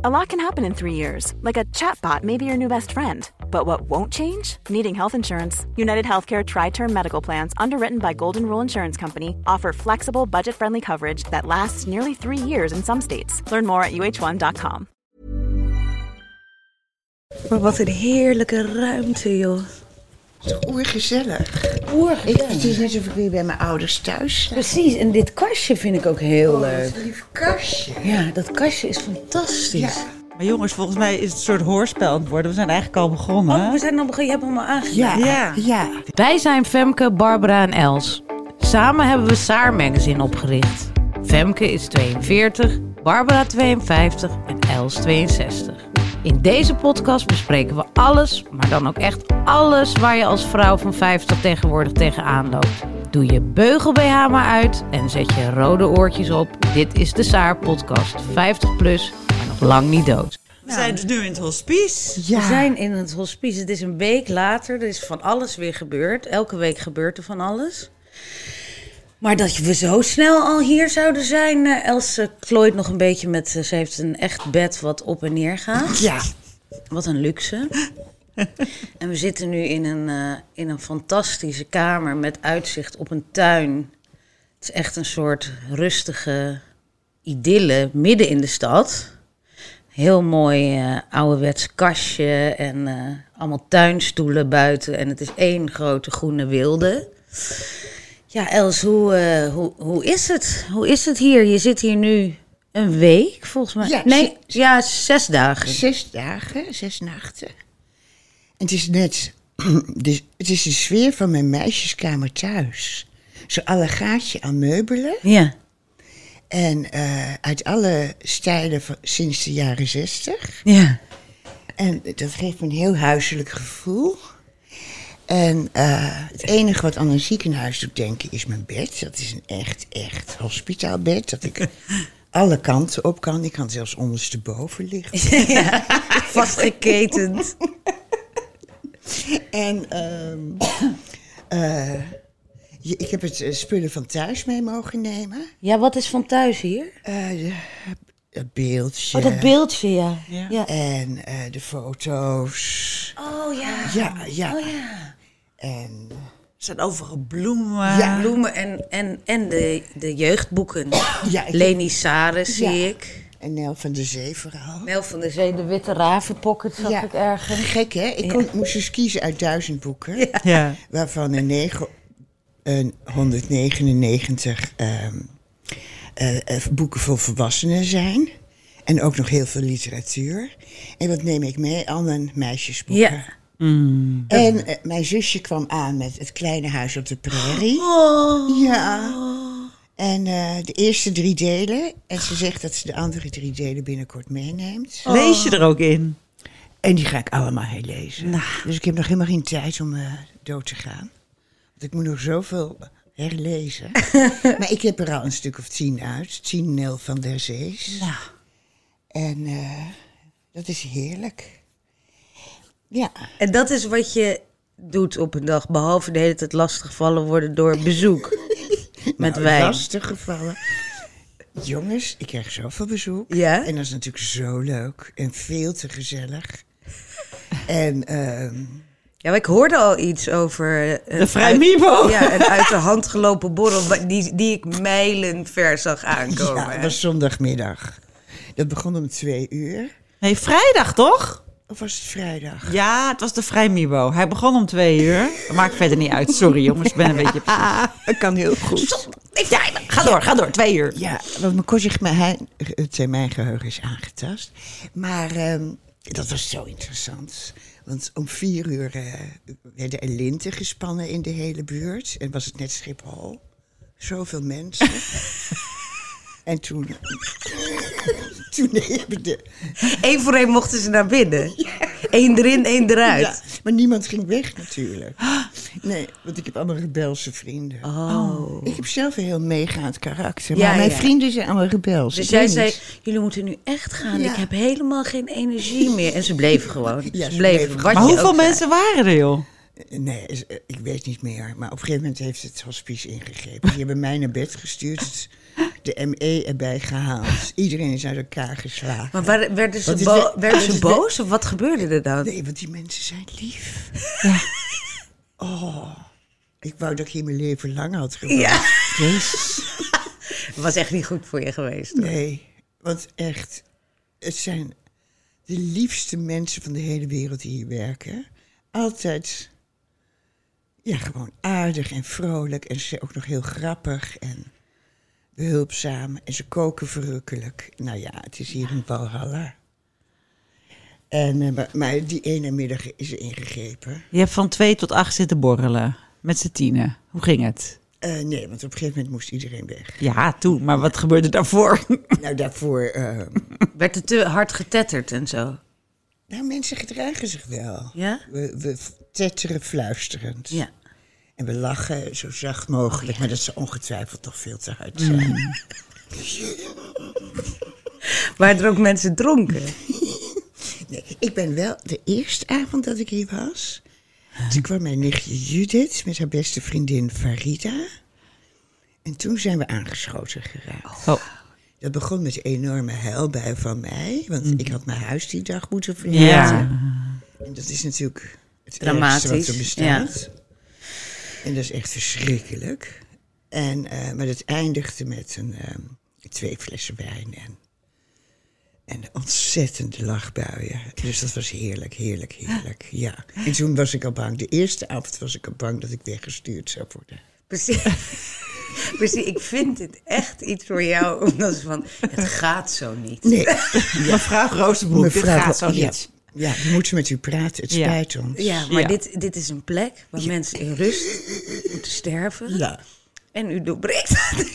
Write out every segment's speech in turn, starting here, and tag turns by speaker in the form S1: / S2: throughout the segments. S1: A lot can happen in three years, like a chatbot may be your new best friend. But what won't change? Needing health insurance. United Healthcare Tri Term Medical Plans, underwritten by Golden Rule Insurance Company, offer flexible, budget friendly coverage that lasts nearly three years in some states. Learn more at uh1.com.
S2: Maar wat een heerlijke ruimte, joh.
S3: Oergezellig. Ik,
S2: Oergezellig.
S3: het is net alsof ik weer bij mijn ouders thuis sta.
S2: Precies, en dit kastje vind ik ook
S3: Oh,
S2: heel leuk.
S3: Een lief kastje.
S2: Ja, dat kastje is fantastisch.
S3: Ja.
S4: Maar jongens, volgens mij is het een soort hoorspel aan het worden. We zijn eigenlijk al begonnen.
S2: Oh, we zijn al begonnen. Je hebt hem al aangezet.
S3: Ja.
S4: Ja.
S3: Ja.
S5: Wij zijn Femke, Barbara en Els. Samen hebben we Saar Magazine opgericht. Femke is 42, Barbara 52 en Els 62. In deze podcast bespreken we alles, maar dan ook echt alles waar je als vrouw van 50 tegenwoordig tegenaan loopt. Doe je beugel BH maar uit en zet je rode oortjes op. Dit is de Saar Podcast 50 plus, maar nog lang niet dood.
S4: We zijn dus nu in het hospice.
S2: We
S3: Ja.
S2: zijn in het hospice. Het is een week later. Er is van alles weer gebeurd. Elke week gebeurt er van alles. Maar dat we zo snel al hier zouden zijn. eh, Els eh, klooit nog een beetje met. eh, Ze heeft een echt bed wat op en neer gaat.
S3: Ja.
S2: Wat een luxe. en we zitten nu in een, eh, in een fantastische kamer met uitzicht op een tuin. Het is echt een soort rustige idylle midden in de stad. Heel mooi eh ouderwets kastje en eh, allemaal tuinstoelen buiten. En het is één grote groene wilde. Ja, Els, hoe, eh, hoe, hoe is het? Hoe is het hier? Je zit hier nu een week, volgens mij.
S3: Ja,
S2: nee,
S3: zes-
S2: ja, zes dagen.
S3: Zes dagen, zes nachten. En het is net... Dus het is de sfeer van mijn meisjeskamer thuis. Zo'n allegaatje aan meubelen.
S2: Ja.
S3: En eh, uit alle stijlen van, sinds de jaren zestig.
S2: Ja.
S3: En dat geeft me een heel huiselijk gevoel. En eh, het enige wat aan een ziekenhuis doet denken is mijn bed. Dat is een echt, echt hospitaalbed. Dat ik alle kanten op kan. Ik kan zelfs ondersteboven liggen.
S2: Vastgeketend.
S3: En ehm, eh, je- ik heb het eh, spullen van thuis mee mogen nemen.
S2: Ja, wat is van thuis hier?
S3: Eh, de- het beeldje.
S2: Oh, dat beeldje, ja.
S4: Ja.
S3: En eh, de foto's.
S2: Oh ja.
S3: Ja, ja. En
S4: Er zijn overal bloemen.
S3: Ja.
S2: Bloemen en, en, en de, de jeugdboeken.
S3: Ja, ik-
S2: Leni Saris
S3: Ja.
S2: zie ik.
S3: En Nel eh, van de Zee vooral.
S2: Nel van der Zee, de Witte Ravenpocket zag ik ergens.
S3: Gek hè? Ik kon, moest dus kiezen uit duizend boeken.
S4: Ja.
S3: Waarvan een, negen, een 199 ehm, eh, eh, boeken voor volwassenen zijn. En ook nog heel veel literatuur. En wat neem ik mee? Al mijn meisjesboeken.
S2: Ja.
S3: En eh, mijn zusje kwam aan met Het Kleine Huis op de Prairie. Ja. En eh, de eerste drie delen. En ze zegt dat ze de andere drie delen binnenkort meeneemt.
S4: Lees je er ook in?
S3: En die ga ik allemaal herlezen. Dus ik heb nog helemaal geen tijd om eh, dood te gaan. Want ik moet nog zoveel herlezen. maar ik heb er al een stuk of tien uit. Tien Nel van der Zees. En eh, dat is heerlijk. Ja.
S2: En dat is wat je doet op een dag. Behalve de hele tijd lastiggevallen worden door bezoek. Met
S3: Nou,
S2: wijn.
S3: Lastig gevallen. Jongens, ik krijg zoveel bezoek.
S2: Ja?
S3: En dat is natuurlijk zo leuk. En veel te gezellig. En ehm,
S2: Ja, maar ik hoorde al iets over... eh,
S4: De Vrij
S2: uit-
S4: Mibo.
S2: Ja, een uit de hand gelopen borrel wa- die, die ik mijlen ver zag aankomen.
S3: ja, het was zondagmiddag. Dat begon om twee uur.
S4: Nee, vrijdag toch?
S3: Of was het vrijdag?
S4: Ja, het was de Vrij Mibo. Hij begon om twee uur. Maakt verder niet uit. Sorry jongens, ik ben een beetje...
S3: Dat kan heel goed.
S4: Ja, ga door, ga door. Twee uur.
S3: Ja, want mijn kort termijngeheugen is aangetast. Maar ehm, dat was zo interessant. Want om vier uur eh, werden er linten gespannen in de hele buurt. En was het net Schiphol. Zoveel mensen. en toen... toen hebben de...
S2: Eén voor één mochten ze naar binnen. Eén erin, één eruit.
S3: Ja, maar niemand ging weg natuurlijk. Nee, want ik heb allemaal rebelse vrienden.
S2: Oh.
S3: Ik heb zelf een heel meegaand karakter.
S2: Ja,
S3: maar mijn
S2: ja.
S3: vrienden zijn allemaal rebels.
S2: Dus
S3: Ik
S2: jij
S3: weet
S2: zei,
S3: niet.
S2: jullie moeten nu echt gaan.
S3: Ja.
S2: Ik heb helemaal geen energie meer. En ze bleven gewoon.
S3: Ja,
S2: ze bleven.
S3: ze bleven
S2: wat
S3: gewoon.
S4: Maar
S2: je
S4: hoeveel
S2: ook zei.
S4: mensen waren er joh?
S3: Nee, is- eh, ik weet niet meer. Maar op een gegeven moment heeft het hospice ingegrepen. Die hebben mij naar bed gestuurd. Het- de ME erbij gehaald. Dus Iedereen is uit elkaar geslagen.
S2: Maar waar- werden ze,
S3: Wat is
S2: bo-
S3: dit?
S2: werden ze
S3: Wat is dit?
S2: boos of wat gebeurde er dan?
S3: Nee, want die mensen zijn lief. Ja. Oh, ik wou dat ik hier mijn leven lang had gewoond.
S2: Ja.
S3: Jezus.
S2: Het was echt niet goed voor je geweest.
S3: Nee, want echt, het zijn de liefste mensen van de hele wereld die hier werken. Altijd, ja, gewoon aardig en vrolijk en ze zijn ook nog heel grappig en behulpzaam. En ze koken verrukkelijk. Nou ja, het is hier een walhalla. En, eh, maar, maar die ene middag is er ingegrepen.
S4: Je hebt van twee tot acht zitten borrelen. Met z'n tienen. Hoe ging het?
S3: Eh, nee, want op een gegeven moment moest iedereen weg.
S4: Ja, toen. Maar wat gebeurde daarvoor?
S3: Nou, daarvoor... eh,
S2: Werd er te hard getetterd en zo?
S3: nou, mensen gedragen zich wel.
S2: Ja?
S3: We, we f- tetteren fluisterend.
S2: Ja.
S3: En we lachen zo zacht mogelijk. Maar dat ze ongetwijfeld toch veel te hard
S2: Mm.
S3: zijn.
S2: Waren er ook mensen dronken?
S3: Nee, ik ben wel de eerste avond dat ik hier was. Toen kwam mijn nichtje Judith met haar beste vriendin Farida. En toen zijn we aangeschoten geraakt.
S4: Oh.
S3: Dat begon met een enorme huilbui van mij. Want ik had mijn huis die dag moeten verlaten.
S4: Ja.
S3: En dat is natuurlijk het
S2: Dramatisch,
S3: ergste wat er bestaat. En dat is echt verschrikkelijk. En, eh, maar dat eindigde met een, ehm, twee flessen wijn en, en ontzettend lachbuien. Dus dat was heerlijk, heerlijk, heerlijk. Ja. En toen was ik al bang. De eerste avond was ik al bang dat ik weggestuurd zou worden.
S2: Precies. Precies, ik vind het echt iets voor jou, omdat ze van, het gaat zo niet.
S3: Nee,
S4: Mevrouw Rozenbroek, dit
S3: mevrouw,
S4: gaat zo
S3: ja,
S4: niet.
S3: Ja, we moeten met u praten. Het
S4: Ja.
S3: spijt ons.
S2: Ja, maar
S4: Ja.
S2: Dit, dit is een plek waar mensen in rust moeten sterven.
S3: Ja.
S2: En u doorbreekt dat.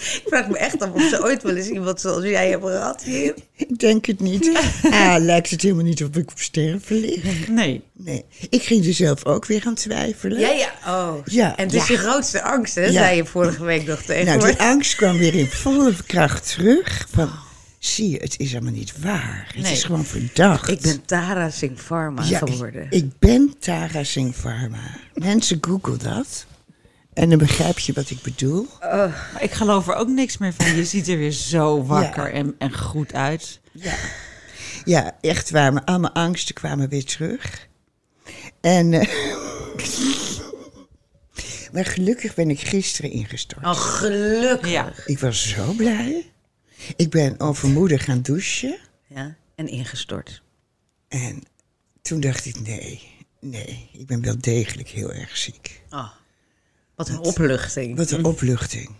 S2: ik vraag me echt af of ze ooit wel eens iemand zoals jij hebben gehad hier.
S3: Ik denk het niet. Ah, lijkt het helemaal niet of ik op sterven lig.
S4: Nee.
S3: Nee, ik ging er zelf ook weer aan twijfelen.
S2: Ja, ja. Oh.
S3: Ja.
S2: En dus
S3: Ja.
S2: je grootste angst, hè,
S3: Ja.
S2: zei je vorige week nog tegen
S3: Nou,
S2: me.
S3: die angst kwam weer in volle kracht terug. Van, zie je, het is helemaal niet waar. Het
S4: Oh. Nee.
S3: is gewoon verdacht.
S2: Ik ben Tara Singh Pharma
S3: Ja,
S2: geworden.
S3: Ik, ik ben Tara Singh Pharma. Mensen google dat. En dan begrijp je wat ik bedoel.
S4: Maar ik geloof er ook niks meer van. Je ziet er weer zo wakker en, en goed uit.
S3: Ja. ja, echt waar. Maar al mijn angsten kwamen weer terug. En... eh, maar gelukkig ben ik gisteren ingestort.
S2: Oh, gelukkig.
S4: Ja.
S3: Ik was zo blij. Ik ben overmoedig gaan douchen.
S2: Ja, En ingestort.
S3: En toen dacht ik, nee, nee, ik ben wel degelijk heel erg ziek.
S2: Oh. Wat een opluchting.
S3: Wat een opluchting.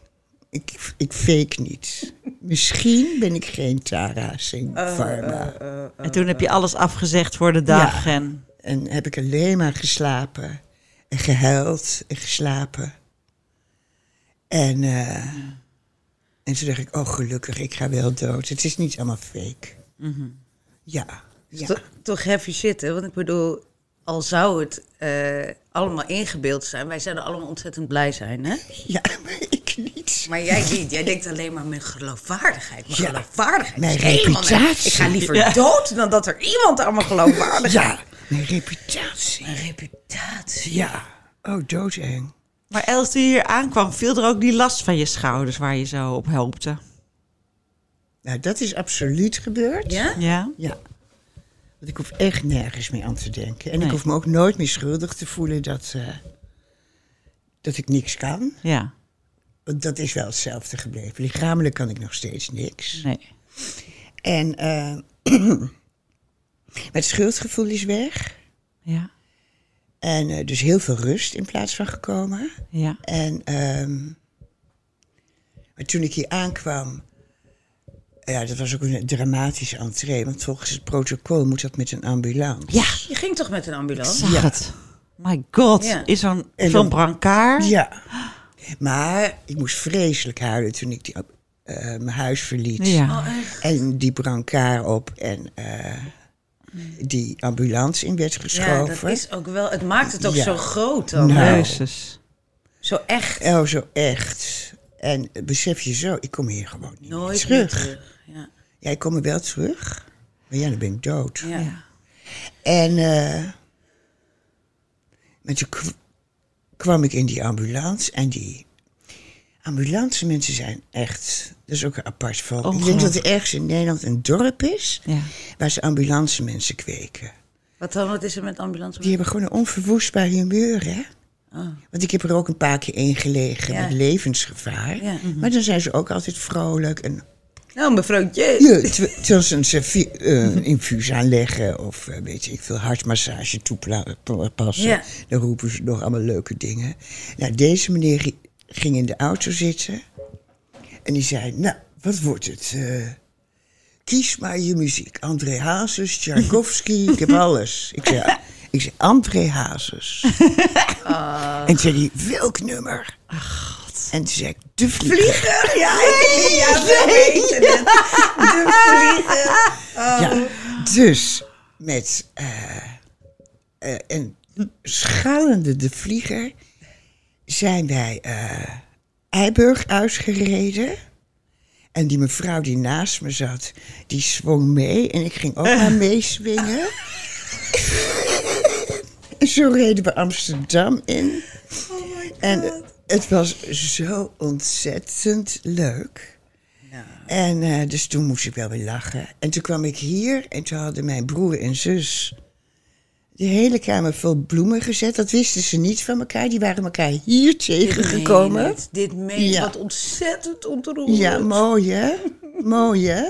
S3: Ik, ik fake niet. Misschien ben ik geen Tara Singh Pharma.
S4: En toen heb je alles afgezegd voor de dag.
S3: Ja.
S4: En
S3: En heb ik alleen maar geslapen. En gehuild en geslapen. En, eh, en toen dacht ik, oh gelukkig, ik ga wel dood. Het is niet allemaal fake. Ja, ja.
S2: To- toch heavy shit, hè? Want ik bedoel, al zou het eh, allemaal ingebeeld zijn, wij zouden allemaal ontzettend blij zijn, hè?
S3: ja, maar ik niet.
S2: Maar jij niet. Jij denkt alleen maar mijn geloofwaardigheid. Mijn
S3: Ja.
S2: geloofwaardigheid.
S3: Mijn
S2: is helemaal
S3: reputatie.
S2: nergens. Ik ga liever dood dan dat er iemand aan mijn geloofwaardigheid...
S3: Ja, mijn reputatie.
S2: Mijn reputatie.
S3: Ja. Oh, doodeng.
S4: Maar Els, toen je hier aankwam, viel er ook die last van je schouders waar je zo op helpte?
S3: Nou, dat is absoluut gebeurd.
S2: Ja?
S4: Ja?
S3: Ja. Want ik hoef echt nergens meer aan te denken. En
S4: Nee.
S3: ik hoef me ook nooit meer schuldig te voelen dat, eh, dat ik niks kan.
S4: Ja.
S3: Want dat is wel hetzelfde gebleven. Lichamelijk kan ik nog steeds niks.
S4: Nee.
S3: En eh, maar het schuldgevoel is weg.
S4: Ja.
S3: En eh, dus heel veel rust in plaats van gekomen.
S4: Ja.
S3: En ehm, maar toen ik hier aankwam, ja, dat was ook een dramatische entree. Want volgens het protocol moet dat met een ambulance.
S4: Ja.
S2: Je ging toch met een ambulance?
S4: Zag het. My god.
S2: Ja.
S4: Is zo'n
S3: En
S4: zo'n
S3: dan-
S4: brancard.
S3: Ja. Maar ik moest vreselijk huilen toen ik die, eh, mijn huis verliet.
S4: Ja.
S2: Oh,
S3: En die brancard op en eh, die ambulance in werd
S2: Ja,
S3: geschoven.
S2: dat is ook wel... Het maakt het ook
S3: Ja.
S2: zo groot dan.
S3: Nou.
S4: Jezus.
S2: Zo echt.
S3: Oh, zo echt. En besef je zo, ik kom hier gewoon niet
S2: Nooit
S3: meer
S2: meer
S3: terug.
S2: terug. Ja.
S3: Ja, ik kom er wel terug. Maar ja, dan ben ik dood.
S2: Ja.
S3: En eh maar toen kw- kwam ik in die ambulance en die Ambulance mensen zijn echt. Dat is ook een apart verhaal. Ik denk dat er ergens in Nederland een dorp is
S4: Ja.
S3: waar ze ambulance mensen kweken.
S2: Wat dan? Wat is er met ambulance?
S3: Die hebben gewoon een onverwoestbaar humeur, hè? Want ik heb er ook een paar keer in gelegen met levensgevaar.
S2: Ja.
S3: Maar dan zijn ze ook altijd vrolijk en
S2: Nou, mevrouwtje.
S3: Ja, ter- terwijl ze een servi- eh, een infuus aanleggen of eh, weet ik veel, hartmassage toepassen.
S2: Ja.
S3: Dan roepen ze nog allemaal leuke dingen. Nou, deze meneer gi- ging in de auto zitten en die zei, nou, wat wordt het? eh, kies maar je muziek. André Hazes, Tchaikovsky, ik heb alles. Ik zei, ik zei André Hazes. En toen zei hij, welk nummer? En toen zei ik, de vlieger.
S2: Ja, ik- ja, we weten het. De Oh. vliegen.
S3: Ja, dus met eh eh, een schalende de vlieger zijn wij eh Eiburg uitgereden. En die mevrouw die naast me zat, die zwong mee. En ik ging ook maar meeswingen. en zo reden we Amsterdam in. en het was zo ontzettend leuk. En eh, dus toen moest ik wel weer lachen. En toen kwam ik hier en toen hadden mijn broer en zus de hele kamer vol bloemen gezet. Dat wisten ze niet van elkaar. Die waren elkaar hier tegengekomen.
S2: Dit, dit meen
S3: Ja.
S2: wat ontzettend ontroerend.
S3: Ja, mooi hè? mooi hè?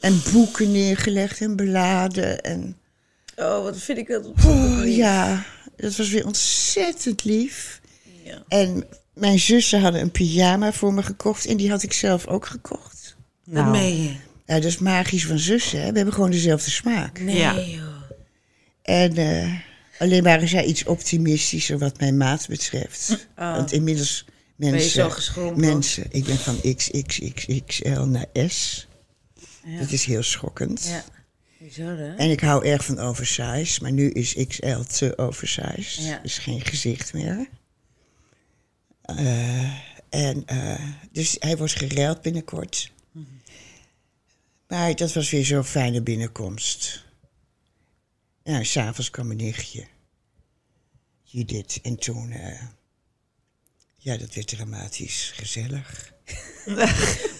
S3: En boeken neergelegd en beladen. En,
S2: Oh, wat vind ik dat ontroerend.
S3: ja, dat was weer ontzettend lief. En mijn zussen hadden een pyjama voor me gekocht en die had ik zelf ook gekocht.
S4: Nou,
S2: meen je?
S3: Ja, dat is magisch van zussen, hè? We hebben gewoon dezelfde smaak.
S4: ja.
S3: En eh, alleen waren zij iets optimistischer wat mijn maat betreft. Want inmiddels mensen...
S2: Oh. zo geschrompeld?
S3: Mensen, ik ben van XXXXL naar S. Dat is heel schokkend.
S2: Ja. Bizar, hè?
S3: En ik hou erg van oversized, maar nu is XL te oversized.
S2: Ja.
S3: Dus geen gezicht meer. Eh, en, eh, dus hij wordt geruild binnenkort.
S2: Mhm.
S3: Maar dat was weer zo'n fijne binnenkomst. Nou, s'avonds kwam mijn nichtje. Judith. En toen, eh, ja, dat werd dramatisch gezellig.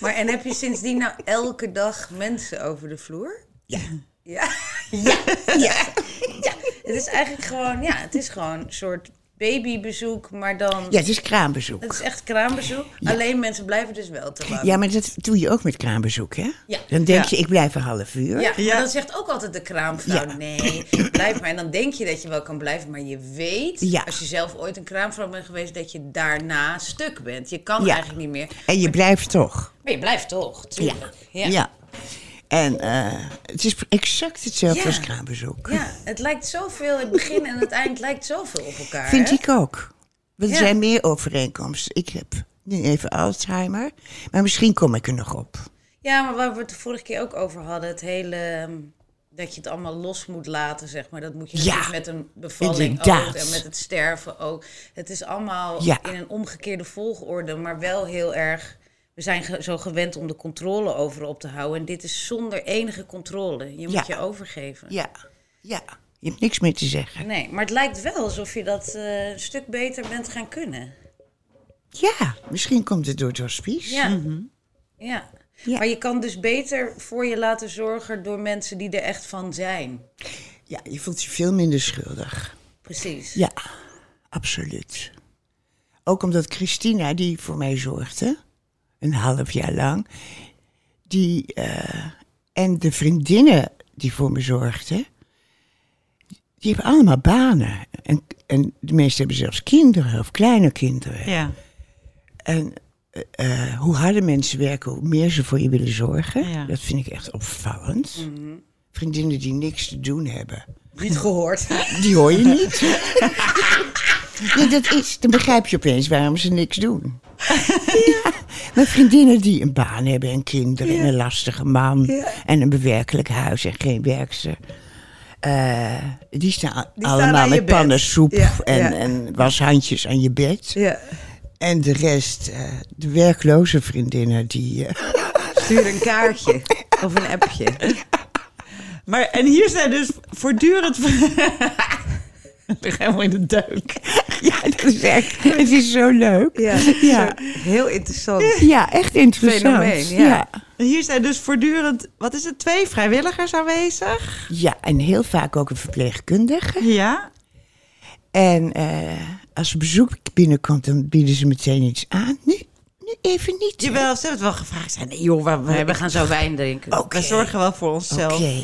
S2: Maar en heb je sindsdien nou elke dag mensen over de vloer? Ja. Ja? Ja. ja. Het is eigenlijk gewoon, ja, het is gewoon een soort babybezoek, maar dan...
S3: Ja, het is kraambezoek.
S2: Het is echt kraambezoek. Alleen mensen blijven dus wel te lang.
S3: Ja, maar dat doe je ook met kraambezoek, hè?
S2: Ja.
S3: Dan denk je, ik blijf een half uur.
S2: Ja, maar
S4: Ja.
S2: dan zegt ook altijd de kraamvrouw, nee, blijf maar. En dan denk je dat je wel kan blijven, maar je weet,
S3: Ja.
S2: als je zelf ooit een kraamvrouw bent geweest, dat je daarna stuk bent. Je kan
S3: Ja.
S2: eigenlijk niet meer.
S3: En je blijft toch.
S2: Maar je blijft toch, tuurlijk. Ja.
S3: En eh, het is exact hetzelfde
S2: Ja.
S3: als kraambezoek.
S2: Ja, het lijkt zoveel, het begin en het eind lijkt zoveel op elkaar.
S3: Vind
S2: hè?
S3: ik ook. Want er
S2: Ja.
S3: zijn meer overeenkomsten. Ik heb nu even Alzheimer, maar misschien kom ik er nog op.
S2: Ja, maar waar we het de vorige keer ook over hadden, het hele... ehm, Dat je het allemaal los moet laten, zeg maar. Dat moet je
S3: Ja,
S2: natuurlijk met een bevalling ook.
S3: inderdaad.
S2: En met het sterven ook. Het is allemaal
S3: Ja.
S2: in een omgekeerde volgorde, maar wel heel erg... We zijn ge- zo gewend om de controle over op te houden. En dit is zonder enige controle. Je moet
S3: Ja.
S2: je overgeven.
S3: Ja, ja. Je hebt niks meer te zeggen.
S2: Nee, maar het lijkt wel alsof je dat eh, een stuk beter bent gaan kunnen.
S3: Ja, misschien komt het door het hospice.
S2: Ja. ja.
S3: Mhm. Ja.
S2: Maar je kan dus beter voor je laten zorgen door mensen die er echt van zijn.
S3: Ja, je voelt je veel minder schuldig.
S2: Precies.
S3: Ja, absoluut. Ook omdat Christina, die voor mij zorgde, een half jaar lang, die, eh, en de vriendinnen die voor me zorgden, die hebben allemaal banen. En, en de meesten hebben zelfs kinderen of kleine kinderen.
S4: Ja.
S3: En eh, eh, hoe harder mensen werken, hoe meer ze voor je willen zorgen.
S4: Ja. Mhm.
S3: Dat vind ik echt opvallend. Vriendinnen die niks te doen hebben.
S2: Niet gehoord.
S3: Die hoor je niet. Ja, dat is, dan begrijp je opeens waarom ze niks doen. Ja. Maar vriendinnen die een baan hebben en kinderen en een lastige man en een bewerkelijk huis en geen werkster. eh, die staan allemaal
S2: aan je
S3: met
S2: bed.
S3: pannensoep
S2: Ja,
S3: en,
S2: ja.
S3: en washandjes aan je bed.
S2: Ja.
S3: En de rest, eh, de werkloze vriendinnen, die... eh,
S2: Stuur een kaartje of een appje.
S4: Maar, en hier zijn dus voortdurend...
S5: lig helemaal in de duik.
S3: Ja, dat is echt. Het is zo leuk.
S2: Ja,
S3: Ja.
S2: heel interessant.
S3: Ja, echt interessant.
S2: Fenomeen, ja.
S4: Hier zijn dus voortdurend, wat is het, twee vrijwilligers aanwezig?
S3: Ja, en heel vaak ook een verpleegkundige.
S4: Ja.
S3: En eh, als er bezoek binnenkomt, dan bieden ze meteen iets aan. Nu, nu even niet. hè?
S4: Jawel, ze hebben het wel gevraagd. Zijn, nee, joh, we, we,
S2: We gaan zo wijn drinken.
S3: Oké.
S4: we zorgen wel voor onszelf.
S3: Oké.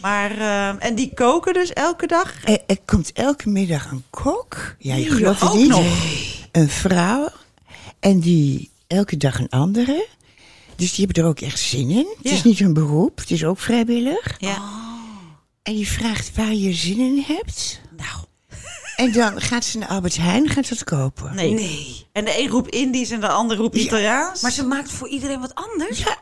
S4: Maar, ehm, en die koken dus elke dag?
S3: Er, er komt elke middag een kok. Ja, je
S4: Nee,
S3: gelooft het
S4: ook
S3: niet.
S4: nog.
S3: Een vrouw. En die elke dag een andere. Dus die hebben er ook echt zin in. Het
S4: Ja.
S3: is niet hun beroep. Het is ook vrijwillig.
S4: Ja.
S3: En die vraagt waar je zin in hebt. Nou. En dan gaat ze naar Albert Heijn gaat dat kopen.
S4: Nee. En de een roept Indisch en de ander roept Italiaans?
S2: Maar ze maakt voor iedereen wat anders?
S3: Ja.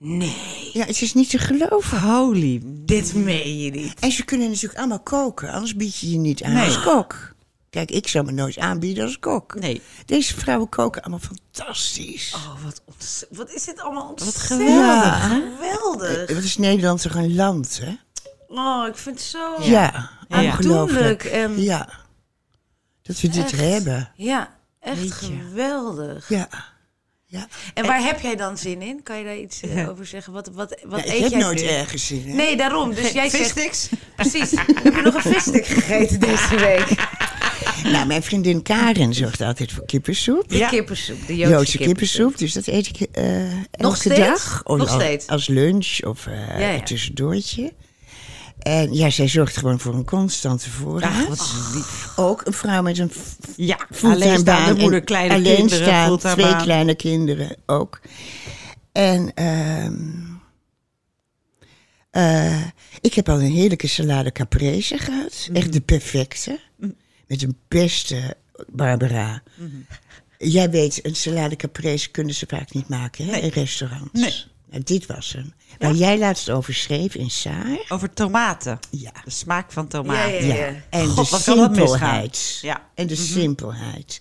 S2: Nee,
S3: ja, het is niet te geloven.
S4: Holy.
S2: dit meen je niet.
S3: En ze kunnen natuurlijk allemaal koken. Anders bied je je niet aan als kok. Kijk, ik zou me nooit aanbieden als kok.
S4: Nee.
S3: Deze vrouwen koken allemaal fantastisch.
S2: Oh, wat, ont- wat is dit allemaal ontzettend
S3: geweldig, Eh,
S2: geweldig.
S3: Wat is Nederland toch een land, hè?
S2: Oh, ik vind het zo...
S3: Ja,
S2: Aandoenlijk
S3: ongelooflijk.
S2: en-
S3: Ja, dat we dit hebben.
S2: Ja, echt geweldig.
S3: Ja. ja.
S2: En waar heb jij dan zin in? Kan je daar iets eh, over zeggen? Wat, wat, wat
S3: Ja,
S2: eet
S3: ik heb
S2: jij
S3: nooit eh,
S2: nu?
S3: ergens zin in.
S2: Nee, daarom. Dus jij zegt...
S4: Vissticks?
S2: Precies. heb je nog een visstick gegeten deze week?
S3: Nou, mijn vriendin Karin zorgt altijd voor kippensoep.
S2: De
S4: Ja.
S2: kippensoep. De Joodse,
S3: Joodse, kippensoep, dus dat eet ik eh elke
S2: steeds?
S3: dag.
S2: Nog
S3: al-
S2: steeds?
S3: Als lunch of eh,
S2: ja.
S3: een tussendoortje. En ja, zij zorgt gewoon voor een constante voorraad. Ook een vrouw met een v-
S4: Ja,
S3: fulltime baan
S4: alleenstaande
S3: en
S4: moeder, kleine
S3: alleenstaan,
S4: kinderen, fulltime
S3: twee
S4: baan.
S3: kleine kinderen ook. En ehm, eh, ik heb al een heerlijke salade caprese gehad.
S4: Mhm.
S3: Echt de perfecte. Met een beste Barbara.
S4: Mhm.
S3: Jij weet, een salade caprese kunnen ze vaak niet maken hè, in restaurants.
S4: Nee.
S3: Nou, dit was hem. Waar jij laatst over schreef in Saar.
S4: Over tomaten.
S3: Ja.
S4: De smaak van
S2: Ja,
S4: tomaten.
S2: ja,
S3: Ja.
S2: ja.
S3: En
S4: God,
S3: de
S4: wat kan dat misgaan?
S3: simpelheid.
S4: Ja. Mhm.
S3: En de simpelheid.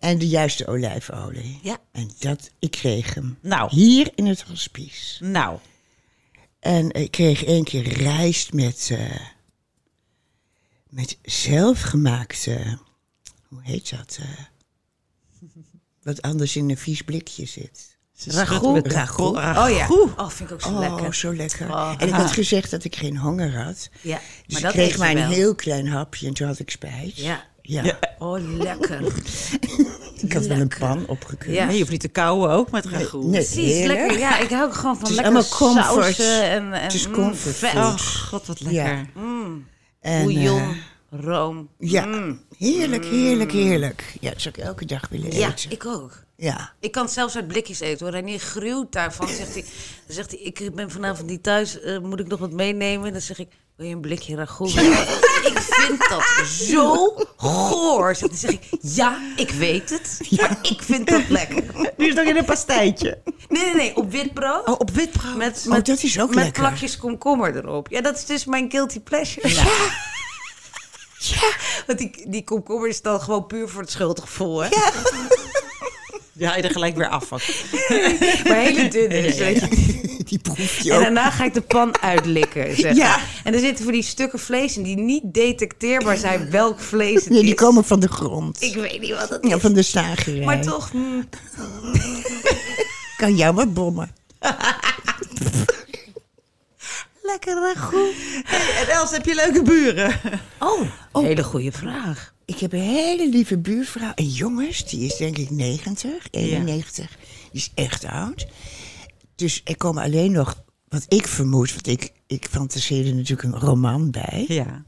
S3: En de juiste olijfolie.
S4: Ja.
S3: En dat, ik kreeg hem.
S4: Nou.
S3: Hier in het hospice.
S4: Nou,
S3: En ik kreeg één keer rijst met, eh, met zelfgemaakte, hoe heet dat? eh, wat anders in een vies blikje zit.
S4: ragout. Met
S3: Ragout.
S2: Oh ja. Oh, vind ik ook zo
S3: Oh,
S2: lekker.
S3: zo lekker.
S4: Oh.
S3: En ik had gezegd dat ik geen honger had.
S2: Ja,
S3: Dus
S2: dat
S3: ik kreeg
S2: eet je
S3: maar een
S2: wel.
S3: heel klein hapje en toen had ik spijt.
S2: Ja.
S3: Ja.
S2: Oh, lekker.
S3: Ik had wel een pan opgekund.
S2: Ja.
S4: Nee, je hoeft niet te kauwen ook met ragout.
S3: Nee,
S2: Precies,
S3: heerlijk.
S2: lekker. Ja, ik hou ook gewoon van
S3: is
S2: lekker
S3: allemaal comfort.
S2: sausen en, en
S3: Het is
S2: mm,
S3: comfort
S2: vet.
S3: food.
S4: Oh, god, wat lekker.
S3: En,
S2: Bouillon,
S3: eh,
S2: room.
S3: ja,
S2: Mm.
S3: heerlijk, heerlijk, heerlijk. Ja, dat zou ik elke dag willen
S2: Ja,
S3: eten.
S2: ik ook.
S3: Ja.
S2: Ik kan het zelfs uit blikjes eten hoor. Renier gruwt daarvan. Zegt hij, dan zegt hij, ik ben vanavond niet thuis, eh, moet ik nog wat meenemen? Dan zeg ik, wil je een blikje ragout? ik vind dat zo goor. Zegt hij, zeg ik, ja, ik weet het, maar ik vind dat lekker.
S4: Nu is het ook in een pastijtje.
S2: Nee, nee, nee, op wit brood.
S4: Oh, op wit brood.
S2: Met,
S3: Oh, dat is ook
S2: met
S3: lekker.
S2: plakjes komkommer erop. Ja, dat is dus mijn guilty pleasure. Ja. Want die, die komkommer is dan gewoon puur voor het schuldgevoel, hè?
S4: Die haal je er gelijk weer af van.
S2: Maar hele dunne. dus weet je.
S3: Die proef je
S2: En
S3: ook.
S2: daarna ga ik de pan uitlikken, zeg
S3: Ja.
S2: maar. En er zitten voor die stukken vlees in die niet detecteerbaar zijn welk vlees het
S3: Nee, die
S2: is.
S3: komen van de grond.
S2: Ik weet niet wat het
S3: Ja,
S2: is.
S3: van de stagerij.
S2: Maar toch, mm,
S3: Kan jou maar bommen.
S2: lekker goed.
S4: En Els, heb je leuke buren?
S2: Oh, hele goede vraag.
S3: Ik heb een hele lieve buurvrouw. En jongens, die is denk ik 90, 91. Die is echt oud. Dus er komen alleen nog, wat ik vermoed, want ik, ik fantaseerde natuurlijk een roman bij.
S4: Ja.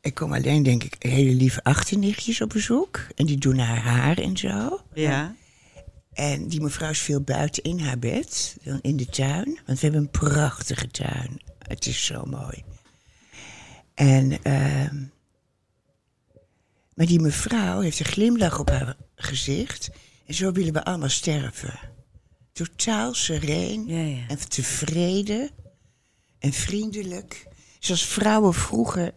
S3: Er komen alleen, denk ik, hele lieve achternichtjes op bezoek. En die doen haar haar en zo.
S4: Ja.
S3: En die mevrouw is veel buiten in haar bed, dan in de tuin. Want we hebben een prachtige tuin. Het is zo mooi. En, ehm, maar die mevrouw heeft een glimlach op haar gezicht. En zo willen we allemaal sterven. Totaal sereen
S2: Ja, ja.
S3: en tevreden en vriendelijk. Zoals vrouwen vroeger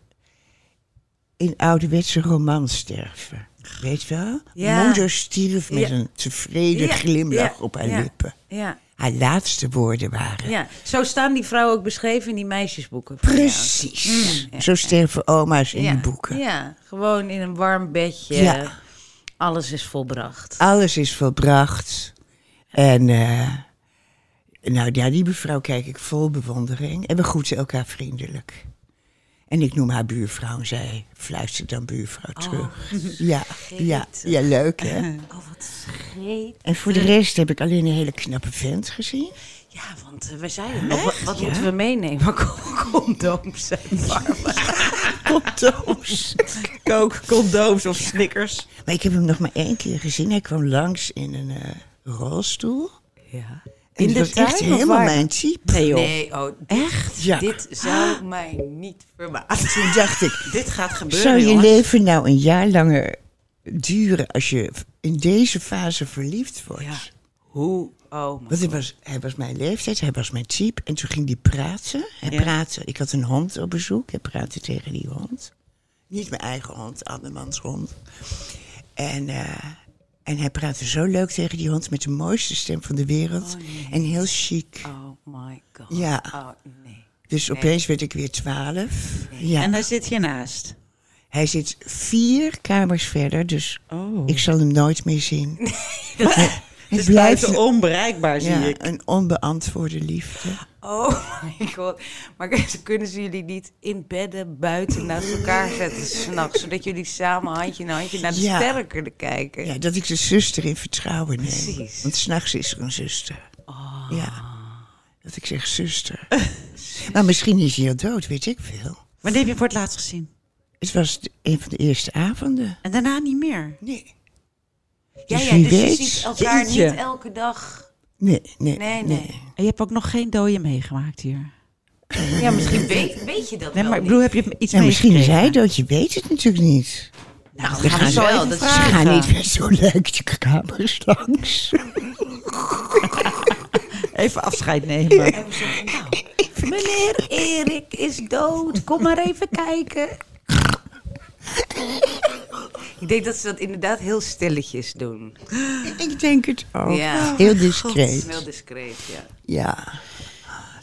S3: in ouderwetse romans sterven. Weet je wel?
S2: Ja.
S3: Moeder stierf met
S2: Ja.
S3: een tevreden
S2: Ja,
S3: glimlach
S2: ja,
S3: op haar
S2: ja.
S3: lippen.
S2: Ja.
S3: haar laatste woorden waren.
S2: Ja, zo staan die vrouwen ook beschreven in die meisjesboeken. Mm,
S3: Precies. Zo sterven oma's in
S2: Ja.
S3: die boeken.
S2: Ja, gewoon in een warm bedje.
S3: Ja.
S2: Alles is volbracht.
S3: Alles is volbracht. En eh, nou ja, die mevrouw kijk ik vol bewondering. En we groeten elkaar vriendelijk. En ik noem haar buurvrouw en zij fluistert dan buurvrouw terug. Ja, ja, ja, leuk hè.
S2: Oh, wat scheet.
S3: En voor de rest heb ik alleen een hele knappe vent gezien.
S2: Ja, want eh, we zeiden nog, wat, wat moeten we meenemen? Condooms zijn warm.
S4: Condooms. Kook, condooms of snickers.
S3: Maar ik heb hem nog maar één keer gezien. Hij kwam langs in een eh, rolstoel.
S4: Ja.
S3: En dat
S4: In de
S3: was
S4: tuin
S3: echt
S4: of
S3: helemaal
S4: waar?
S3: mijn type.
S4: Nee joh.
S2: Nee, oh, echt?
S3: Ja.
S2: Dit zou mij niet verbazen.
S3: Toen dacht ik,
S4: Dit gaat gebeuren,
S3: Zou je
S4: jongens.
S3: leven nou een jaar langer duren als je in deze fase verliefd wordt?
S4: Ja. Hoe? Oh, man.
S3: Want hij was, hij was mijn leeftijd, hij was mijn type. En toen ging hij praten. Hij praatte. Ik had een hond op bezoek. Hij praatte tegen die hond. Niet mijn eigen hond, andermans hond. En, eh, en hij praatte zo leuk tegen die hond met de mooiste stem van de wereld.
S4: Oh,
S3: En heel chic.
S2: Oh my god.
S3: Ja.
S2: Oh nee.
S3: Dus opeens werd ik weer twaalf. Ja.
S4: En daar zit je naast.
S3: Hij zit vier kamers verder, dus ik zal hem nooit meer zien.
S4: Het
S3: het
S4: Oh. is
S3: blijft
S4: buiten onbereikbaar, zie
S3: ja,
S4: ik.
S3: een onbeantwoorde liefde.
S2: Oh my god. Maar kunnen ze jullie niet in bedden buiten naast elkaar zetten s'nachts? Zodat jullie samen handje in handje naar de
S3: Ja.
S2: sterren kunnen kijken.
S3: Ja, dat ik de zuster in vertrouwen neem.
S2: Precies.
S3: Want s'nachts is er een zuster. Ja. Dat ik zeg zuster. maar misschien is hij al dood, weet ik veel.
S4: Wanneer heb je hem voor het laatst gezien?
S3: Het was de- een van de eerste avonden.
S4: En daarna niet meer.
S3: Nee.
S2: Ja,
S3: Dus
S2: ja,
S3: wie
S2: dus je
S3: weet.
S2: ziet elkaar
S4: Jeetje.
S2: niet elke dag.
S3: Nee, nee,
S2: Nee,
S3: nee.
S2: nee.
S4: En je hebt ook nog geen dode meegemaakt hier.
S2: Ja, misschien weet, weet je dat
S4: Nee,
S2: wel
S4: maar Oh, ik
S2: niet.
S4: bedoel, heb je iets
S3: Nou, misschien is hij
S4: meegekregen?
S3: dood, je weet het natuurlijk niet.
S4: Nou,
S3: We
S4: dat gaan we
S3: gaan
S4: zo
S3: wel,
S4: even
S2: dat is-
S3: Ze
S4: vragen.
S3: gaan niet met zo leuk de kamers langs.
S4: Even afscheid nemen.
S2: Meneer Erik is dood, kom maar even kijken. Ik denk dat ze dat inderdaad heel stilletjes doen.
S3: Ik denk het ook.
S2: Ja.
S3: Heel discreet.
S2: Heel discreet, ja.
S3: Ja.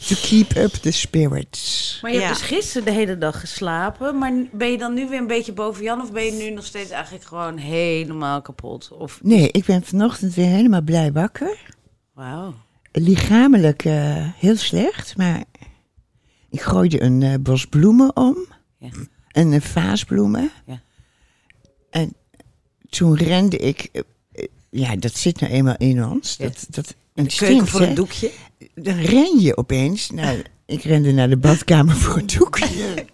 S3: To keep up the spirits.
S2: Maar je
S4: Ja.
S2: hebt dus gisteren de hele dag geslapen. Maar n- ben je dan nu weer een beetje boven Jan? Of ben je nu nog steeds eigenlijk gewoon helemaal kapot? Of,
S3: Nee, ik ben vanochtend weer helemaal blij wakker.
S2: wauw.
S3: Lichamelijk eh, heel slecht, maar ik gooide een eh, bos bloemen om.
S2: Ja.
S3: En een vaas bloemen.
S2: Ja.
S3: En toen rende ik... eh, eh, ja, dat zit nou eenmaal in ons. Dat, dat
S4: Keuken
S3: instinct,
S4: voor een
S3: hè.
S4: doekje.
S3: dan ren je opeens naar... Ik rende naar de badkamer voor een doekje.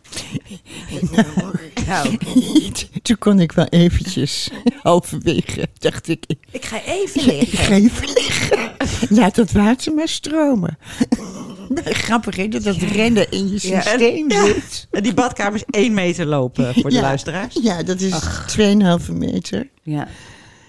S2: Nou,
S3: Toen kon ik wel eventjes halverwege, dacht ik, ik
S2: ik ga even liggen.
S3: ga even liggen. Laat dat water maar stromen. Grappig hè, dat dat rennen in je
S4: Ja.
S3: systeem
S4: En-
S3: zit.
S4: En die badkamer is één meter lopen voor de
S3: Ja.
S4: luisteraars.
S3: Ja, dat is 2,5 meter.
S2: Ja.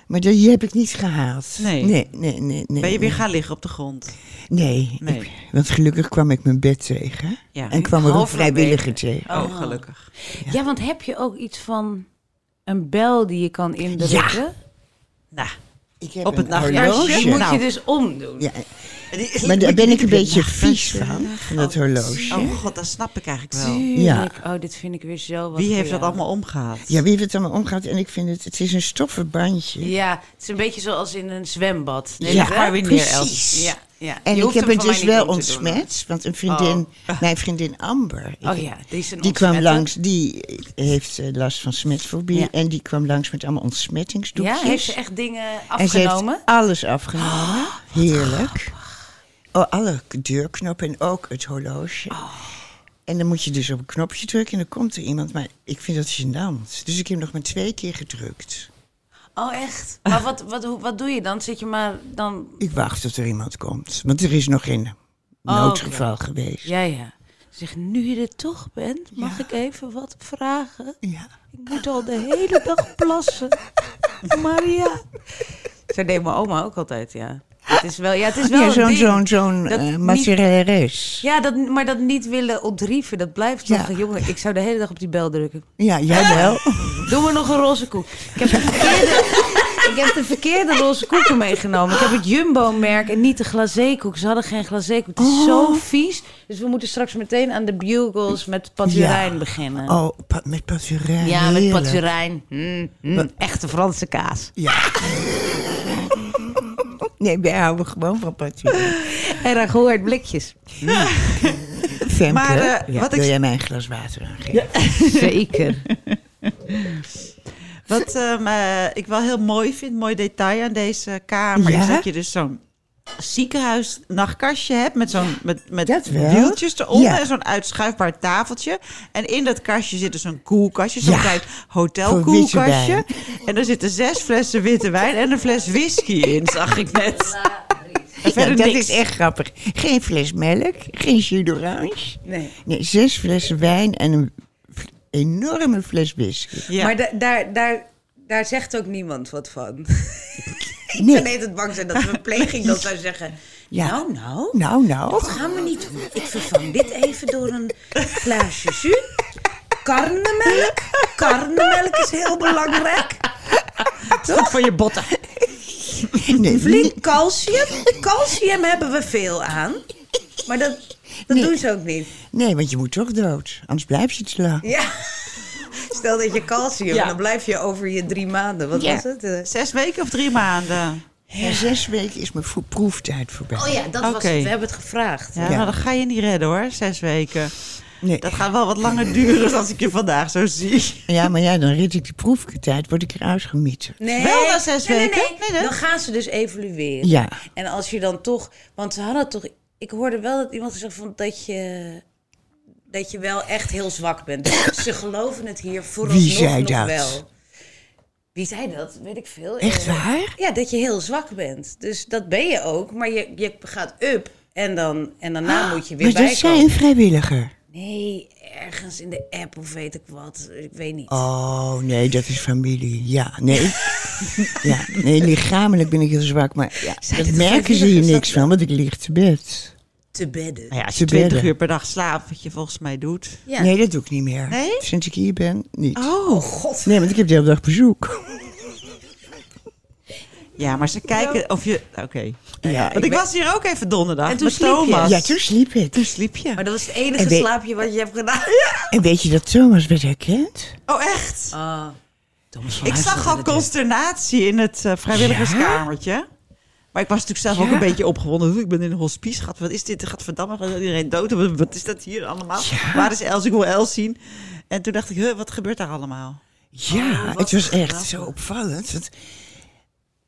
S3: Maar die heb ik niet gehaald.
S4: Nee.
S3: Nee, nee, nee. nee
S4: Ben je weer
S3: nee.
S4: gaan liggen op de grond?
S3: Nee.
S4: Nee.
S3: ik- want gelukkig kwam ik mijn bed tegen.
S4: Ja.
S3: En kwam er een
S2: Half
S3: vrijwilliger
S2: meter.
S3: tegen.
S4: Oh, gelukkig.
S2: ja, want heb je ook iets van een bel die je kan indrukken?
S4: Nou,
S3: Ik heb
S4: Op het
S3: een
S4: nachtjasje?
S3: horloge.
S2: Die moet
S4: Nou.
S2: je dus omdoen.
S3: Ja,
S4: die-
S3: maar daar ben ik een
S4: die-
S3: beetje
S4: Ja,
S3: vies
S4: dat-
S3: van, van dat horloge.
S4: Oh god, dat snap ik eigenlijk wel.
S2: Tuurlijk. Oh, dit vind ik weer zo wat
S4: Wie
S2: voor
S4: heeft dat
S2: jou.
S4: allemaal omgehaald?
S3: Ja, wie heeft het allemaal omgaat? En ik vind het, het is een stoffen bandje.
S2: Ja, het is een beetje zoals in een zwembad. Nee,
S3: Ja,
S2: dat-
S4: maar weer neer,
S3: precies.
S4: Els.
S2: Ja, ja.
S3: En
S2: Je
S3: ik
S2: hoeft
S3: heb
S2: hem
S3: het
S2: van mij
S3: dus
S2: niet
S3: wel
S2: om te doen, hoor.
S3: ontsmet, want een vriendin, mijn vriendin Amber, ik-
S2: Oh ja, die is een
S3: die kwam
S2: ontsmetter.
S3: langs, die heeft eh, last van smetfobie
S2: Ja.
S3: en die kwam langs met allemaal ontsmettingsdoekjes.
S2: Ja, heeft ze echt dingen
S3: en ze
S2: afgenomen? Oh,
S3: heeft alles afgenomen. Heerlijk. Oh, alle deurknoppen en ook het horloge.
S2: Oh.
S3: En dan moet je dus op een knopje drukken en dan komt er iemand. Maar ik vind dat gênant. Dus ik heb nog maar twee keer gedrukt.
S2: Oh, echt? Maar wat, wat, hoe- wat doe je dan? Zit je maar dan...
S3: Ik wacht tot er iemand komt. Want er is nog geen noodgeval geweest.
S2: Ja, ja. Zeg, nu je er toch bent, mag ik even wat vragen?
S3: Ja.
S2: Ik moet al de hele dag plassen. Maria. Zo deed mijn oma ook altijd, ja. Het is wel, ja, het is wel
S3: Ja,
S2: een
S3: zo'n
S2: ding.
S3: zo'n zo'n
S2: Dat
S3: eh
S2: niet-
S3: macereres.
S2: Ja, dat, maar dat niet willen ontrieven, dat blijft
S3: Ja.
S2: toch. Jongen, ik zou de hele dag op die bel drukken.
S3: Ja, jij wel.
S2: Doe me nog een roze koek. Ik heb een verkeerde,
S5: Ik heb de verkeerde roze koeken meegenomen. Ik heb het Jumbo-merk en niet de glacékoek. Ze hadden geen glacékoek. Het is
S2: Oh.
S5: zo vies. Dus we moeten straks meteen aan de bugles met paturijn
S3: Ja.
S5: beginnen.
S3: Oh, pa- met paturijn.
S5: ja, met
S3: heerlijk.
S5: paturijn. Mm, mm, echte Franse kaas.
S3: Ja. nee, wij houden gewoon van paturijn.
S5: En dan gehoord blikjes.
S3: Femke,
S4: Maar, eh,
S3: ja,
S4: wat ik-
S3: wil jij mij een glas water aangeven?
S5: Zeker.
S4: Wat ehm, eh, ik wel heel mooi vind, mooi detail aan deze kamer,
S3: Ja?
S4: is dat je dus zo'n ziekenhuis nachtkastje hebt met zo'n met, met
S3: Dat wel.
S4: wieltjes eronder
S3: Ja.
S4: en zo'n uitschuifbaar tafeltje. En in dat kastje zit dus een koelkastje, zo'n
S3: Ja.
S4: klein
S3: Voor witte
S4: hotelkoelkastje. En daar zitten zes flessen witte wijn en een fles whisky in, zag ik net.
S3: Ja,
S4: En verder
S3: dat
S4: niks.
S3: is echt grappig. Geen fles melk, geen jus d'orange.
S2: Nee.
S3: Nee, zes flessen wijn en een f- enorme fles whisky.
S4: Ja.
S2: Maar da- daar, daar, daar zegt ook niemand wat van. ik
S3: Nee.
S2: zou nee. het bang zijn dat de verpleging dat zou zeggen.
S3: Ja.
S2: Nou, nou.
S3: Nou, nou.
S2: Dat gaan we niet doen. Ik vervang dit even door een glaasje jus. Karnemelk. Karnemelk is heel belangrijk.
S4: Goed voor je botten.
S3: Nee,
S2: Flink calcium. Calcium hebben we veel aan. Maar dat, dat doen ze ook niet.
S3: nee, want je moet toch dood. Anders blijf je te lang.
S2: Ja. Stel dat je calcium,
S4: Ja.
S2: dan blijf je over je drie maanden. Wat was het? Eh,
S4: Zes weken of drie maanden?
S3: Na zes weken is mijn vo- proeftijd voorbij.
S5: Oh ja, dat was
S4: Oké.
S5: het. We hebben het gevraagd.
S4: Ja,
S3: Ja.
S4: Nou, dat ga je niet redden hoor, zes weken.
S3: Nee.
S4: Dat gaat wel wat langer duren dan als ik je vandaag zo zie.
S3: Ja, maar ja, dan rit ik die proeftijd, word ik eruit gemieterd.
S2: Nee.
S4: Wel na zes
S2: Nee, nee,
S4: weken?
S2: nee.
S4: Nee, nee.
S2: Dan gaan ze dus evalueren.
S3: Ja.
S2: En als je dan toch... Want ze hadden toch... Ik hoorde wel dat iemand gezegd vond dat je... Dat je wel echt heel zwak bent. Dus ze geloven het hier vooralsnog
S3: Wie zei
S2: nog
S3: dat?
S2: wel. Wie zei dat? Weet ik veel.
S3: Echt
S2: Eh,
S3: waar?
S2: Ja, dat je heel zwak bent. Dus dat ben je ook. Maar je, je gaat up. En, dan, en daarna moet je weer
S3: Ah, Maar dus dat
S2: bijkomen.
S3: zei een vrijwilliger.
S2: Nee, ergens in de app of weet ik wat. Ik weet niet.
S3: Oh, nee, dat is familie. Ja, nee. ja, nee, lichamelijk ben ik heel zwak, maar ja, dat
S2: het
S3: merken ze hier
S2: vrijwilligers
S3: niks van, want ik lig te bed.
S2: Te bedden.
S4: Nou ja, als
S3: Te
S4: je 20
S3: bedden.
S4: uur per dag slaapt, wat je volgens mij doet.
S2: Ja.
S3: Ah Nee, dat doe ik niet meer.
S4: Nee?
S3: Sinds ik hier ben, niet.
S4: Oh, god.
S3: Nee, want ik heb de hele dag bezoek.
S4: Ja, maar ze kijken of je... Oké.
S3: Ja,
S4: Want ik was hier ook even donderdag
S2: En toen
S4: met
S2: sliep je.
S4: Thomas.
S3: ja toen sliep
S4: Toen
S3: het.
S4: sliep je.
S2: Maar dat was het enige
S3: En weet-
S2: slaapje wat je hebt gedaan.
S3: En weet je dat Thomas werd herkend?
S4: Oh, echt?
S2: Thomas van
S4: ik zag al consternatie in het eh, vrijwilligerskamertje. Maar ik was natuurlijk zelf ook een beetje opgewonden. Hoe, Ik ben in een hospice. Gaat, wat is dit? Gaat verdammen? Gaat iedereen dood? Wat, wat is dat hier allemaal? Waar is Els? Ik wil Els zien. En toen dacht ik, huh, wat gebeurt daar allemaal? Oh,
S3: Ja, het was echt zo opvallend. Want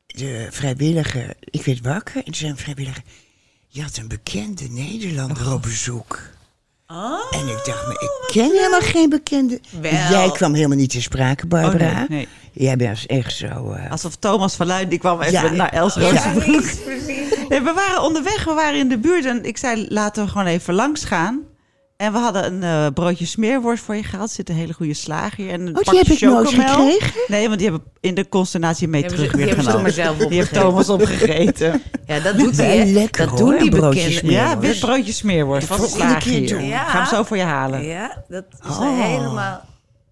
S3: de vrijwilliger, ik werd wakker en toen zei een vrijwilliger... Je had een bekende
S4: Oh.
S3: Nederlander op bezoek. en ik dacht, maar ik ken helemaal geen bekende. Jij kwam helemaal niet ter sprake, Barbara.
S4: Oh, nee, nee.
S3: Jij was echt zo... eh,
S4: Alsof Thomas van Luijn, die kwam even
S3: Ja,
S4: naar Els
S3: ja.
S4: Rozenbroek. Nee, we waren onderweg, we waren in de buurt en ik zei laten we gewoon even langs gaan. En we hadden een eh, broodje smeerworst voor je gehaald. Er zit een hele goede slager hier. En een
S3: Oh, die
S4: pakje
S3: heb ik nooit
S4: chocomel.
S3: gekregen?
S4: Nee, want die hebben in de consternatie mee
S5: Hebben ze-
S4: terug
S5: die
S4: weer
S5: hebben ze
S4: genomen.
S5: maar zelf
S4: die heeft
S5: opgegeten.
S4: Thomas opgegeten.
S5: Ja, dat doet
S3: Wel
S5: hij. hè.
S3: lekker,
S5: dat
S3: hoor,
S5: doen die
S3: broodjes
S5: bekenden.
S3: met-
S4: Ja,
S3: Smeerworst.
S4: wit broodje smeerworst van de
S3: Volgende
S4: slager
S3: keer
S4: hier.
S3: doen.
S2: Ja.
S4: Gaan we zo voor je halen.
S2: Ja, dat is
S3: Oh.
S2: helemaal...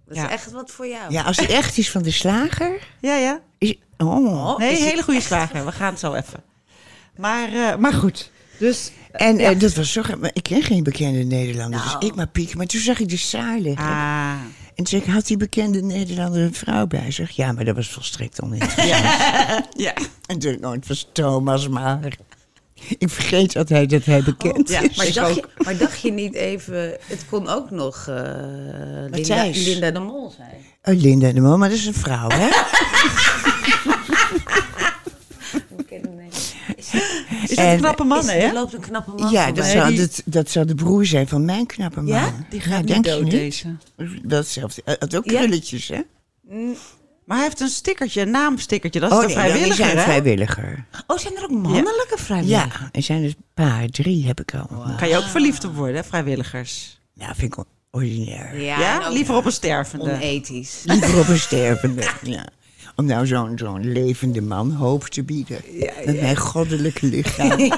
S2: Dat
S4: Ja.
S2: is echt wat voor jou.
S3: Ja, als hij echt is van de slager...
S4: Ja, ja.
S3: Is, oh.
S4: Nee, hele goede slager. We gaan het zo even. Maar, eh, maar goed. Dus
S3: En eh, dat was zo grappig. maar Ik ken geen bekende Nederlander,
S4: Nou.
S3: dus ik maar piek. Maar toen zag ik de saai liggen.
S4: ah,
S3: En toen zei ik, had die bekende Nederlander een vrouw bij zich? Ja, maar dat was volstrekt oninteressant.
S4: ja.
S3: en toen, oh, het was Thomas maar. Ik vergeet altijd dat hij bekend
S4: Oh, ja,
S3: is.
S2: Maar
S4: Ik
S2: dacht,
S4: ook.
S2: je, maar dacht je niet even... Het kon ook nog eh, Linda,
S3: Matthijs.
S2: Linda de Mol zijn.
S3: Oh, Linda de Mol, maar dat is een vrouw, hè?
S4: Oh, Is dat een
S3: En-
S4: knappe man,
S2: Is-
S4: hè?
S2: Er loopt een knappe man
S3: ja, dat
S2: voorbij.
S3: zou,
S4: die-
S3: dat, dat zou de broer zijn van mijn knappe man.
S2: Ja?
S3: die
S4: gaat niet
S3: denk
S4: dood,
S3: je niet?
S4: deze.
S3: Wel hetzelfde. Hij had ook
S2: Ja.
S3: krulletjes, hè?
S4: Maar hij heeft een stickertje, een naamstickertje. Dat is
S3: Oh
S4: een
S3: nee, dan is
S4: vrijwilliger,
S3: hij een
S4: hè?
S3: vrijwilliger.
S2: Oh, zijn er ook mannelijke vrijwilligers?
S3: Ja, er zijn dus een paar, drie heb ik al. ontmoet.
S4: Kan je ook verliefd op worden, hè, vrijwilligers?
S3: Nou, vind ik on- ordinair.
S2: Ja,
S4: Ja,
S2: en ook
S4: liever op een stervende.
S2: Onethisch.
S3: Liever op een stervende. Ja. Om nou zo'n zo'n levende man hoop te bieden. Met mijn goddelijke lichaam.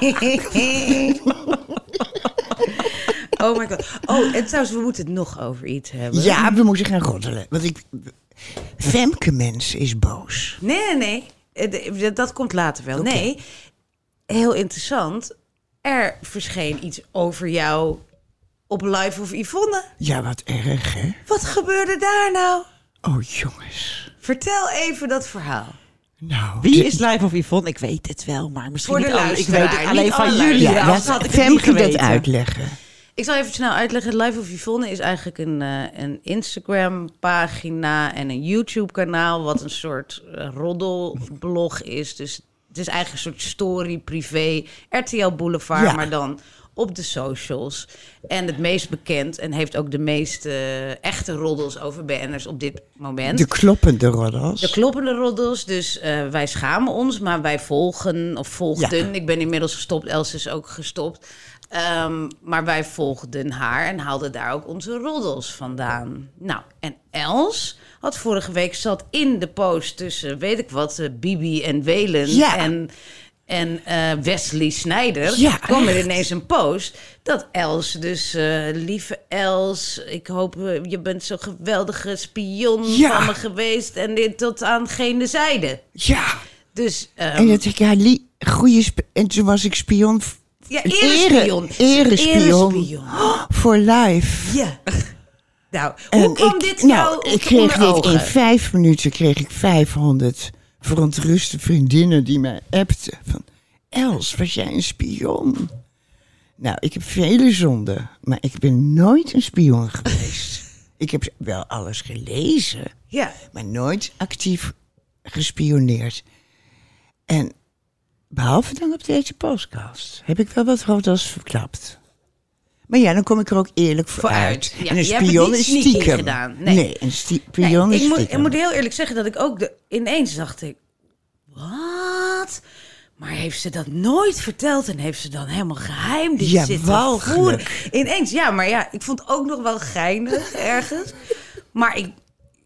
S2: Oh my god. Oh, en trouwens, we moeten het nog over iets hebben.
S3: ja, we moeten gaan roddelen. Want ik... Femke mens is boos.
S2: Nee, nee, nee. eh, de- dat- dat komt later wel. Nee, heel interessant. Er verscheen iets over jou op Live of Yvonne.
S3: Ja, wat erg, hè?
S2: Wat gebeurde daar nou?
S3: Oh, jongens.
S2: Vertel even dat verhaal.
S3: Nou,
S4: Wie
S3: de-
S4: is Live of Yvonne? Ik weet het wel, maar misschien
S2: Voor de
S4: niet alle- Ik weet
S2: luisteraar,
S4: het alleen
S2: niet
S4: van
S2: alle
S4: jullie.
S2: luisteraars.
S4: wel.
S3: laat
S4: Anders had ik het niet
S3: Femke dat
S4: geweten.
S3: uitleggen.
S2: Ik zal even snel uitleggen. Live of Yvonne is eigenlijk een, eh, een Instagram-pagina en een YouTube-kanaal... wat een soort eh, roddelblog is. Dus het is eigenlijk een soort story, privé, RTL Boulevard...
S3: Ja.
S2: maar dan op de socials. En het meest bekend en heeft ook de meeste eh, echte roddels over BN'ers op dit moment.
S3: De kloppende roddels.
S2: De kloppende roddels, dus eh, wij schamen ons, maar wij volgen of volgden.
S3: Ja.
S2: Ik ben inmiddels gestopt, Els is ook gestopt. Ehm, maar wij volgden haar en haalden daar ook onze roddels vandaan. Nou, en Els had vorige week zat in de post tussen, weet ik wat, eh, Bibi en Welen
S3: Ja.
S2: en, en eh, Wesley Snijder.
S3: Ja,
S2: kwam er
S3: echt.
S2: ineens een post dat Els dus, eh, lieve Els, ik hoop, eh, je bent zo'n geweldige spion
S3: Ja.
S2: van me geweest en dit tot aan gene zijde.
S3: ja,
S2: Dus ehm,
S3: en dat ik haar lie- goede sp- En toen was ik spion... v-
S2: ja,
S3: een
S2: erespion.
S3: ere- Erespion.
S2: Erespion.
S3: Voor life.
S2: ja. Nou,
S3: En
S2: hoe kwam
S3: ik-
S2: dit
S3: Nou,
S2: jou
S3: ik kreeg
S2: onder
S3: dit
S2: ogen?
S3: in vijf minuten kreeg ik 500 verontruste vriendinnen die mij appten. Van, Els, was jij een spion? Nou, ik heb vele zonden, maar ik ben nooit een spion geweest. ik heb wel alles gelezen,
S2: Ja,
S3: maar nooit actief gespioneerd. En behalve dan op deze podcast heb ik wel wat roddels verklapt. Maar ja, dan kom ik er ook eerlijk voor,
S2: Vooruit,
S3: uit.
S2: ja.
S3: En een
S2: Je hebt het
S3: spion
S2: niet
S3: is
S2: sneaky
S3: stiekem.
S2: gedaan, nee.
S3: een stie-
S2: Nee,
S3: spion is
S2: ik, moet,
S3: stiekem.
S2: ik moet heel eerlijk zeggen dat ik ook de, ineens dacht ik, wat? Maar heeft ze dat nooit verteld en heeft ze dan helemaal geheim dit
S3: Ja,
S2: zitten
S3: walgelijk.
S2: voeren? Ineens, ja, maar ja, ik vond het ook nog wel geinig ergens. Maar ik,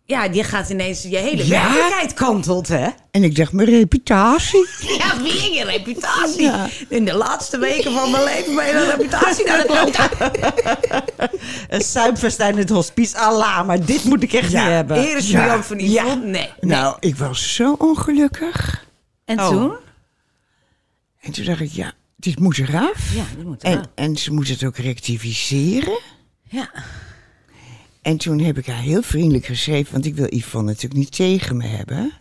S2: ja, je gaat ineens je hele
S3: Ja?
S2: werkelijkheid kantelt, hè?
S3: En ik dacht, mijn reputatie.
S2: Ja, weer je reputatie.
S3: Ja.
S2: In de laatste weken van mijn leven ben je een reputatie naar de kloot aan.
S4: Een suipfestijn in het hospice. Allah, maar dit moet ik echt
S3: Ja.
S4: niet hebben.
S2: Heer is
S3: Ja.
S2: Jan van Yvonne, nee.
S3: Nou, ik was zo ongelukkig.
S2: En
S4: Oh.
S2: toen?
S3: En toen dacht ik, ja, dit moet eraf.
S2: Ja, dit moet eraf.
S3: en, en ze moet het ook rectificeren.
S2: Ja.
S3: En toen heb ik haar heel vriendelijk geschreven, want ik wil Yvonne natuurlijk niet tegen me hebben.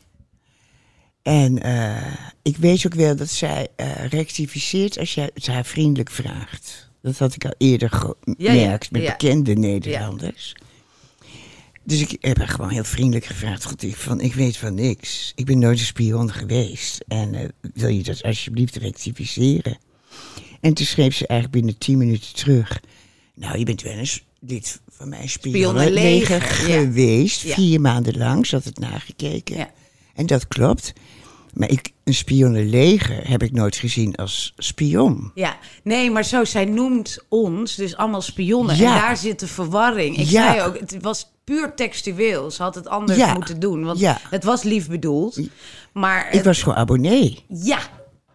S3: En eh, ik weet ook wel dat zij eh, rectificeert als jij het haar vriendelijk vraagt. Dat had ik al eerder
S2: Ja,
S3: gemerkt
S2: ja,
S3: met
S2: ja.
S3: bekende Nederlanders. Dus ik heb haar gewoon heel vriendelijk gevraagd. God, ik, van, ik weet van niks. Ik ben nooit een spion geweest. En eh, wil je dat alsjeblieft rectificeren? En toen schreef ze eigenlijk binnen tien minuten terug. Nou, je bent wel eens dit van mijn spionnenleger
S2: Spionnenleger, ja.
S3: geweest.
S2: Ja.
S3: Vier maanden lang zat het nagekeken.
S2: Ja.
S3: En dat klopt. Maar ik, een spionnenleger heb ik nooit gezien als spion.
S2: Ja, nee, maar zo, zij noemt ons dus allemaal spionnen.
S3: Ja.
S2: En daar zit de verwarring. Ik
S3: Ja.
S2: zei ook, het was puur textueel. Ze had het anders
S3: Ja.
S2: moeten doen, want
S3: Ja.
S2: het was lief bedoeld. Maar
S3: Ik
S2: het-
S3: was gewoon abonnee.
S2: ja,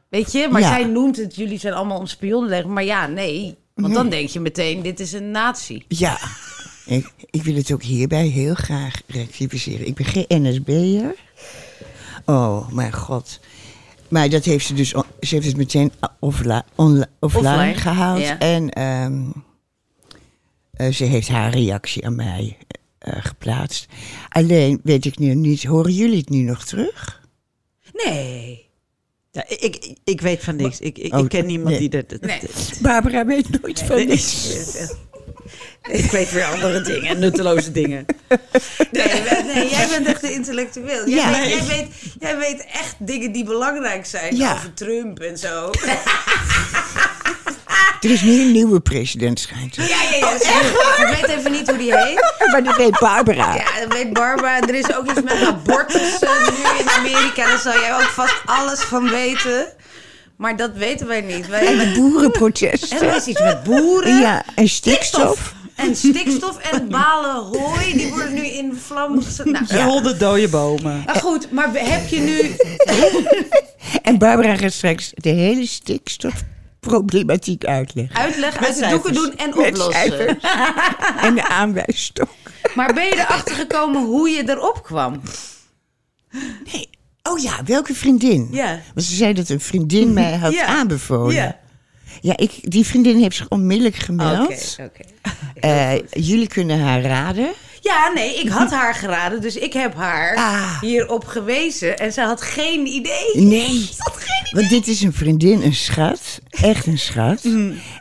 S2: weet je, maar
S3: Ja.
S2: zij noemt het, jullie zijn allemaal ons spionnen. Maar ja, nee, want dan denk je meteen, dit is een natie.
S3: Ja. ik, ik wil het ook hierbij heel graag rectificeren. Ik ben geen NSB'er. Oh, mijn god. Maar dat heeft ze dus... on- ze heeft het meteen offline, offline,
S2: Offline,
S3: gehaald.
S2: ja.
S3: En ehm, eh, ze heeft haar reactie aan mij eh, geplaatst. Alleen weet ik nu niet... Horen jullie het nu nog terug?
S2: Nee.
S4: Ja, ik, ik, ik weet van niks. Ik, ik,
S3: Oh,
S4: ik ken niemand
S3: nee.
S4: die dat... dat-
S2: Nee.
S4: dat-
S3: Barbara weet nooit van
S4: Nee, Ik weet weer andere dingen, nutteloze dingen.
S2: Nee, we- nee, jij bent echt een intellectueel. Jij,
S3: Ja.
S2: weet, jij, weet, jij weet echt dingen die belangrijk zijn
S3: Ja.
S2: over Trump en zo.
S3: Er is nu een nieuwe president, schijnt.
S2: Ja, ja, ja. Oh, Ik weet even niet hoe die heet.
S3: Maar dat weet Barbara.
S2: Ja, dat weet Barbara. Er is ook iets met abortussen nu in Amerika. Daar zal jij ook vast alles van weten. Maar dat weten wij niet. Wij
S3: En de
S2: en er
S3: boerenprotesten.
S2: is iets met boeren.
S3: Ja, en stikstof.
S2: En stikstof en balen hooi. Die worden nu in vlam gezet. Nou, ja.
S4: Honderd dode bomen.
S2: Maar goed, maar we- heb je nu...
S3: En Barbara gaat straks de hele stikstofproblematiek uitleggen.
S2: Uitleg uit de
S3: cijfers.
S2: doeken doen en
S3: Met
S2: oplossen.
S3: cijfers. en de aanwijsstok.
S2: Maar ben je erachter gekomen hoe je erop kwam?
S3: Nee, Oh ja, welke vriendin?
S2: Ja.
S3: Want ze zei dat een vriendin mij had
S2: Ja.
S3: aanbevolen.
S2: Ja.
S3: Oh, Ja, ik, die vriendin heeft zich onmiddellijk gemeld.
S2: Oké, oké.
S3: Eh, jullie kunnen haar raden.
S2: Ja, nee, ik had haar geraden, dus ik heb haar
S3: Ah.
S2: hierop gewezen. En zij had geen idee.
S3: Nee.
S2: Ze had geen idee.
S3: Want dit is een vriendin, een schat. Echt een schat.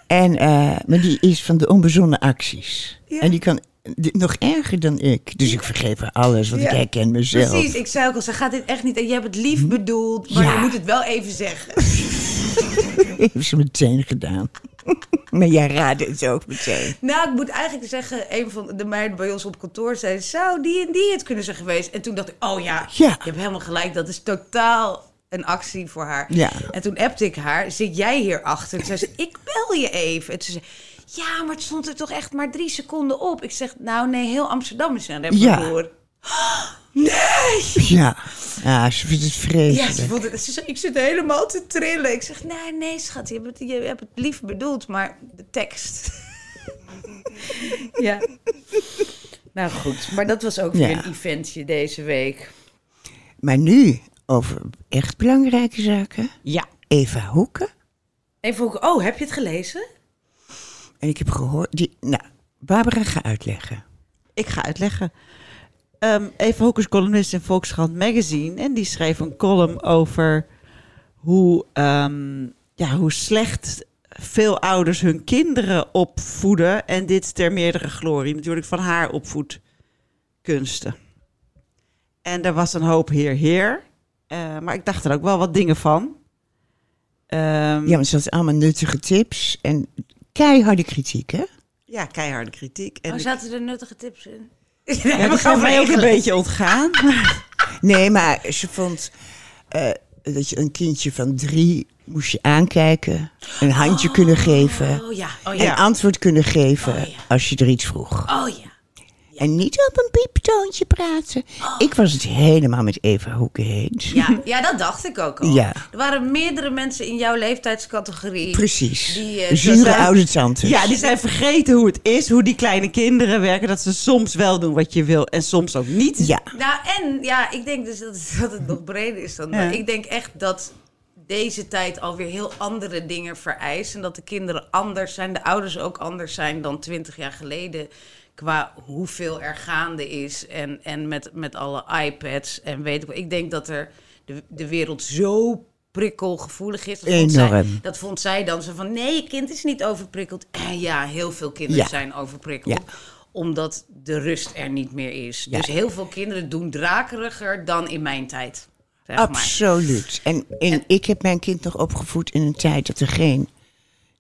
S3: En, eh, maar die is van de onbezonnen acties.
S2: Ja.
S3: En die kan die- nog erger dan ik. Dus ik vergeef haar alles, want
S2: Ja.
S3: ik herken mezelf.
S2: Precies, ik zei ook al, ze gaat dit echt niet. En je hebt het lief bedoeld, maar
S3: Hm? Ja.
S2: je moet het wel even zeggen.
S3: Heeft ze meteen gedaan. maar jij raadde het ook meteen.
S2: Nou, ik moet eigenlijk zeggen, een van de meiden bij ons op kantoor zei... zou die en die het kunnen zijn geweest? En toen dacht ik, oh ja,
S3: Ja.
S2: je hebt helemaal gelijk. Dat is totaal een actie voor haar.
S3: Ja.
S2: En toen appte ik haar, zit jij hierachter? Toen zei ze, ik bel je even. En toen zei ze, ja, maar het stond er toch echt maar drie seconden op. Ik zeg, nou nee, heel Amsterdam is aan het
S3: Ja.
S2: door.
S3: Ja. Ah, ze vindt het
S2: Ja, ze
S3: vreselijk.
S2: vond het, ze zei, ik zit helemaal te trillen. Ik zeg, nee, nee, schat, je hebt, het- je hebt het lief bedoeld, maar de tekst. ja. Nou goed, maar dat was ook weer
S3: Ja.
S2: een eventje deze week.
S3: Maar nu, over echt belangrijke zaken.
S4: Ja.
S3: Eva Hoeken.
S2: Even ook, oh, heb je het gelezen?
S3: En ik heb gehoord... Die, nou, Barbara, ga uitleggen.
S4: Ik ga uitleggen. Ehm Eva Hoekers columnist in Volkskrant Magazine. En die schreef een column over hoe, ehm, ja, hoe slecht veel ouders hun kinderen opvoeden. En dit ter meerdere glorie natuurlijk van haar opvoedkunsten. En er was een hoop heer heer. Eh, maar ik dacht er ook wel wat dingen van. Ehm,
S3: Ja, want ze had allemaal nuttige tips en keiharde kritiek, hè?
S4: ja, keiharde kritiek. En
S2: Oh,
S4: ik-
S2: zaten er nuttige tips in?
S4: ja, dat is mij ook een beetje ontgaan.
S3: Nee, maar ze vond eh, dat je een kindje van drie moest je aankijken, een handje kunnen geven,
S2: Oh ja, oh
S3: en
S2: ja,
S3: antwoord kunnen geven als je er iets vroeg.
S2: oh ja.
S3: En niet op een pieptoontje praten. Ik was het helemaal met Eva Hoeken eens.
S2: Oh. Ja, ja, dat dacht ik ook al.
S3: Ja.
S2: Er waren meerdere mensen in jouw leeftijdscategorie.
S3: Precies.
S2: Die, eh,
S3: Zure
S4: zijn-
S3: oude tantes.
S4: Ja, die zijn vergeten hoe het is, hoe die kleine kinderen werken. Dat ze soms wel doen wat je wil en soms ook niet.
S3: Ja.
S2: Nou, en ja, ik denk dus dat, dat het nog breder is dan.
S4: Ja.
S2: Ik denk echt dat deze tijd alweer heel andere dingen vereist. En dat de kinderen anders zijn, de ouders ook anders zijn dan twintig jaar geleden. Qua hoeveel er gaande is en, en met, met alle iPads en weet ik wat. Ik denk dat er de, de wereld zo prikkelgevoelig is. Dat vond, zij,
S3: Enorm.
S2: dat vond zij dan zo van, nee, je kind is niet overprikkeld. En ja, heel veel kinderen
S3: Ja.
S2: zijn overprikkeld.
S3: Ja.
S2: Omdat de rust er niet meer is.
S3: Ja.
S2: Dus heel veel kinderen doen drakeriger dan in mijn tijd. Zeg maar.
S3: Absoluut. En, en, ik heb mijn kind nog opgevoed in een tijd dat er geen...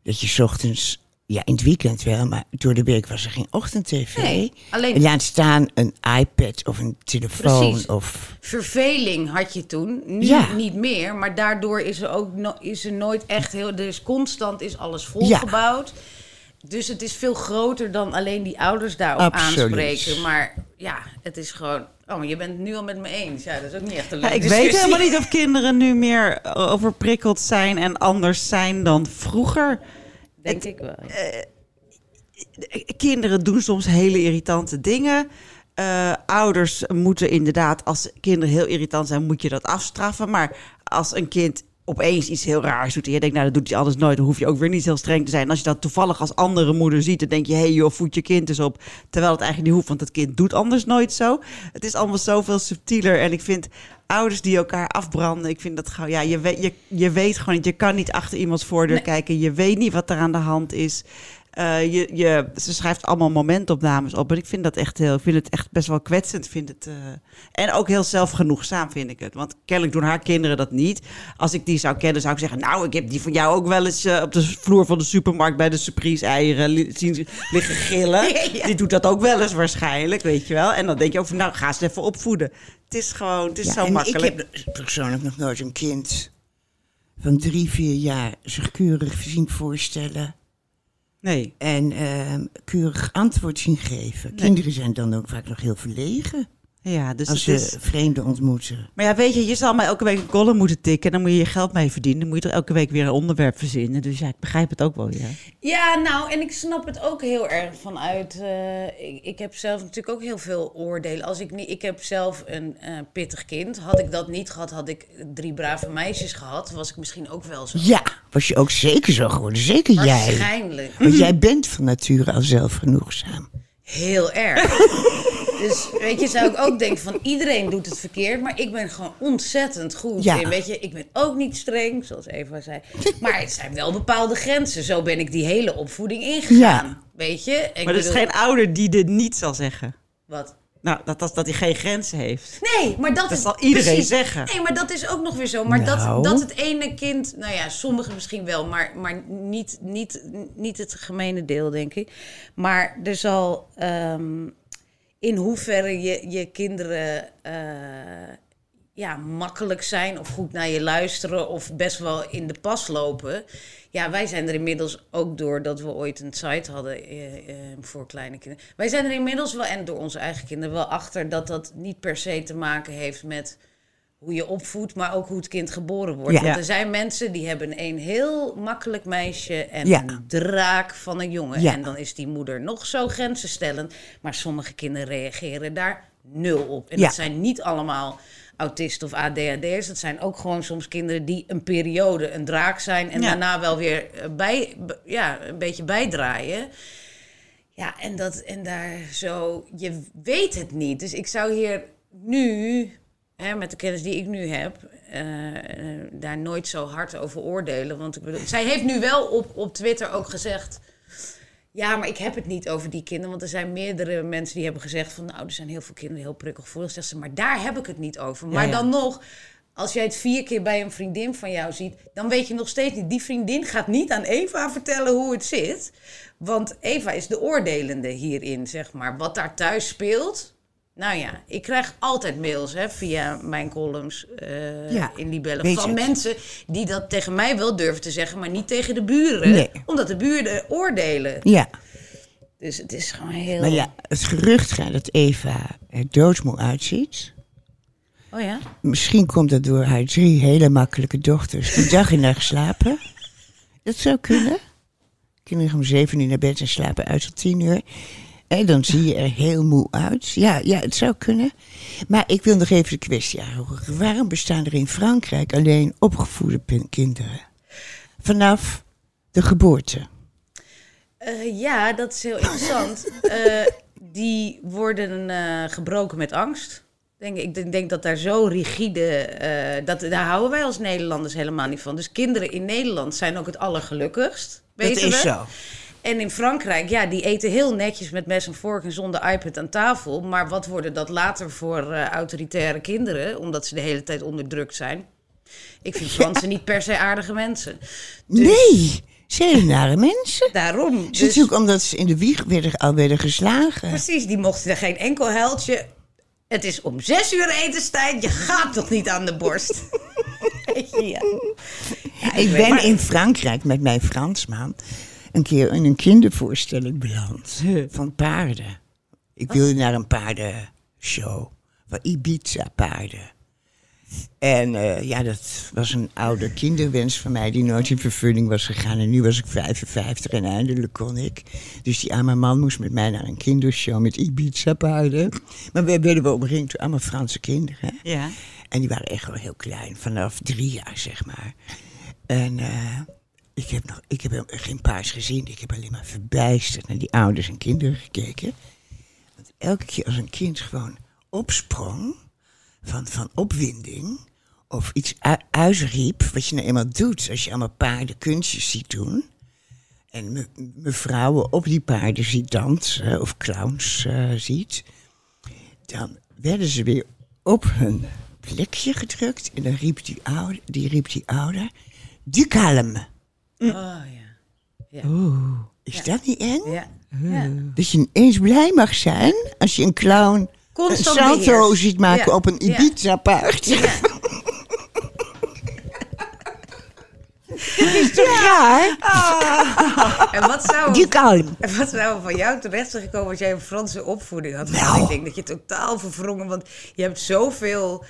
S3: Dat je 's ochtends... Ja, in het weekend wel, maar door de week was er geen ochtendtv.
S2: Nee, alleen-
S3: En laat staan een iPad of een telefoon
S2: Precies.
S3: of...
S2: Verveling had je toen, nu
S3: Ja.
S2: niet meer. Maar daardoor is er ook no- is er nooit echt heel... Dus constant is alles volgebouwd. Dus het is veel groter dan alleen die ouders daarop
S3: Absoluut.
S2: aanspreken. Maar ja, het is gewoon... Oh, maar je bent het nu al met me eens. Ja, dat is ook niet echt een
S4: Ja,
S2: leuke
S4: ik
S2: discussie.
S4: weet helemaal niet of kinderen nu meer overprikkeld zijn en anders zijn dan vroeger.
S2: Denk ik wel. ja.
S4: Kinderen doen soms hele irritante dingen. Eh, ouders moeten inderdaad, als kinderen heel irritant zijn, moet je dat afstraffen. Maar als een kind opeens iets heel raars doet en je denkt, nou dat doet hij anders nooit, dan hoef je ook weer niet heel streng te zijn. En als je dat toevallig als andere moeder ziet, dan denk je, hé hey joh, voed je kind eens op. Terwijl het eigenlijk niet hoeft, want het kind doet anders nooit zo. Het is allemaal zoveel subtieler en ik vind ouders die elkaar afbranden, ik vind dat gewoon, ja, je weet, je, je weet gewoon niet, je kan niet achter iemands voordeur kijken, je weet niet wat er aan de hand is. Eh, je, je, ze schrijft allemaal momentopnames op. En ik vind dat echt heel. Ik vind het echt best wel kwetsend. Vind het, eh, en ook heel zelfgenoegzaam vind ik het. Want kennelijk doen haar kinderen dat niet. Als ik die zou kennen, zou ik zeggen. Nou, ik heb die van jou ook wel eens eh, op de vloer van de supermarkt bij de surprise eieren li- zien ze liggen gillen. Die doet dat ook wel eens waarschijnlijk, weet je wel. En dan denk je ook van nou, ga ze even opvoeden. Het is gewoon, het is
S3: Ja,
S4: zo
S3: en
S4: makkelijk.
S3: Ik heb persoonlijk nog nooit een kind van drie, vier jaar zich keurig zien voorstellen...
S4: Nee.
S3: en ehm, keurig antwoord zien geven. Kinderen zijn dan ook vaak nog heel verlegen.
S4: Ja, dus
S3: Als
S4: het
S3: ze
S4: is...
S3: vreemden ontmoeten.
S4: Maar ja, weet je, je zal maar elke week een column moeten tikken. En dan moet je je geld mee verdienen. Dan moet je er elke week weer een onderwerp verzinnen. Dus ja, ik begrijp het ook wel, ja.
S2: Ja, nou, en ik snap het ook heel erg vanuit. eh, ik, ik heb zelf natuurlijk ook heel veel oordelen. Als ik, niet, ik heb zelf een eh, pittig kind. Had ik dat niet gehad, had ik drie brave meisjes gehad, was ik misschien ook wel zo.
S3: Ja, was je ook zeker zo geworden. Zeker jij.
S2: Waarschijnlijk.
S3: Want jij bent van nature al zelfgenoegzaam.
S2: Heel erg. dus weet je, zou ik ook denken van iedereen doet het verkeerd, maar ik ben gewoon ontzettend goed
S3: Ja.
S2: in. Weet je, ik ben ook niet streng, zoals Eva zei. Maar het zijn wel bepaalde grenzen. Zo ben ik die hele opvoeding ingegaan.
S3: Ja.
S2: Weet je? Ik
S4: Maar er is
S2: bedoel-
S4: geen ouder die dit niet zal zeggen.
S2: Wat?
S4: Nou, dat, dat, dat hij geen grenzen heeft.
S2: Nee, maar dat,
S4: Dat
S2: is
S4: zal iedereen zeggen.
S2: Nee, maar dat is ook nog weer zo. Maar dat,
S3: Nou.
S2: dat het ene kind, nou ja, sommigen misschien wel, maar, maar niet, niet, niet het gemene deel, denk ik. Maar er zal ehm, in hoeverre je, je kinderen eh, ja, makkelijk zijn of goed naar je luisteren of best wel in de pas lopen. Ja, wij zijn er inmiddels ook door dat we ooit een site hadden eh, eh, voor kleine kinderen. Wij zijn er inmiddels wel, en door onze eigen kinderen, wel achter dat dat niet per se te maken heeft met hoe je opvoedt, maar ook hoe het kind geboren wordt.
S3: Ja.
S2: Want er zijn mensen die hebben een heel makkelijk meisje en
S3: Ja.
S2: een draak van een jongen.
S3: Ja.
S2: En dan is die moeder nog zo grenzenstellend. Maar sommige kinderen reageren daar nul op. En
S3: Ja.
S2: dat zijn niet allemaal autisten of ADHD'ers. Dat zijn ook gewoon soms kinderen die een periode een draak zijn... en
S4: Ja.
S2: daarna wel weer eh, bij, b- ja, een beetje bijdraaien. Ja, en, dat, en daar zo... Je weet het niet. Dus ik zou hier nu, hè, met de kennis die ik nu heb... eh, eh, daar nooit zo hard over oordelen. Want ik bedoel, zij heeft nu wel op, op Twitter ook gezegd... Ja, maar ik heb het niet over die kinderen. Want er zijn meerdere mensen die hebben gezegd van... nou, er zijn heel veel kinderen heel prikkelgevoelig. Zegt ze, maar daar heb ik het niet over. Maar
S4: ja.
S2: dan nog, als jij het vier keer bij een vriendin van jou ziet... dan weet je nog steeds niet. Die vriendin gaat niet aan Eva vertellen hoe het zit. Want Eva is de oordelende hierin, zeg maar. Wat daar thuis speelt... Nou ja, ik krijg altijd mails hè, via mijn columns eh,
S3: Ja,
S2: in die bellen
S3: weet
S2: van
S3: het.
S2: mensen die dat tegen mij wel durven te zeggen, maar niet tegen de buren.
S3: Nee.
S2: Omdat de buren oordelen.
S3: Ja.
S2: Dus het is gewoon heel.
S3: Maar Nou ja, het gerucht gaat dat Eva er doodmoe uitziet.
S2: Oh ja?
S3: Misschien komt dat door haar drie hele makkelijke dochters die dag en nacht slapen. Dat zou kunnen. Kinderen gaan om zeven uur naar bed en slapen uit tot tien uur. En dan zie je er heel moe uit. Ja, ja, het zou kunnen. Maar ik wil nog even de kwestie aanhoren. Waarom bestaan er in Frankrijk alleen opgevoede pin- kinderen? Vanaf de geboorte.
S2: Eh, ja, dat is heel interessant. Eh, die worden eh, gebroken met angst. Denk, ik denk- denk dat daar zo rigide. eh, dat, daar houden wij als Nederlanders helemaal niet van. Dus kinderen in Nederland zijn ook het allergelukkigst.
S3: dat
S2: weten
S3: is
S2: we.
S3: zo.
S2: En in Frankrijk, ja, die eten heel netjes met mes en vork en zonder iPad aan tafel. Maar wat worden dat later voor eh, autoritaire kinderen, omdat ze de hele tijd onderdrukt zijn? Ik vind Fransen niet per se aardige mensen.
S3: Nee, ze zijn hele nare mensen.
S2: Daarom.
S3: Het is
S2: Dus,
S3: natuurlijk omdat ze in de wieg werden, al werden geslagen.
S2: precies, die mochten er geen enkel huiltje. Het is om zes uur etenstijd, je gaat toch niet aan de borst? ja.
S3: Ik ben in Frankrijk met mijn Fransman een keer in een kindervoorstelling beland van paarden. Ik wilde naar een paardenshow van Ibiza paarden. En eh, ja, dat was een oude kinderwens van mij die nooit in vervulling was gegaan. En nu was ik 55 en eindelijk kon ik. Dus die arme man moest met mij naar een kindershow met Ibiza paarden. Maar we werden wel omringd door allemaal Franse kinderen.
S4: Ja.
S3: En die waren echt wel heel klein, vanaf drie jaar zeg maar. En eh, ik, heb nog, ik heb hem geen paars gezien. Ik heb alleen maar verbijsterd naar die ouders en kinderen gekeken. Want elke keer als een kind gewoon opsprong van, van opwinding... of iets u- uitriep, wat je nou eenmaal doet als je allemaal paarden kunstjes ziet doen... en me- mevrouwen op die paarden ziet dansen of clowns eh, ziet dan werden ze weer op hun plekje gedrukt. En dan riep die ouder, die, riep die ouder du kalm.
S2: Oh ja.
S3: Is dat niet eng?
S2: ja. ja.
S3: Dat je ineens blij mag zijn als je een clown
S2: Constant
S3: een salto
S2: beheerst.
S3: ziet maken
S2: Ja.
S3: op een
S2: Ja.
S3: Ibiza-paard.
S6: Ja,
S2: En wat zou,
S6: die
S2: er-
S6: kalm.
S2: en wat zou er van jou terecht zijn gekomen als jij een Franse opvoeding had? gehad?
S6: Nou.
S2: Ik denk dat je totaal verwrongen, want je hebt zoveel...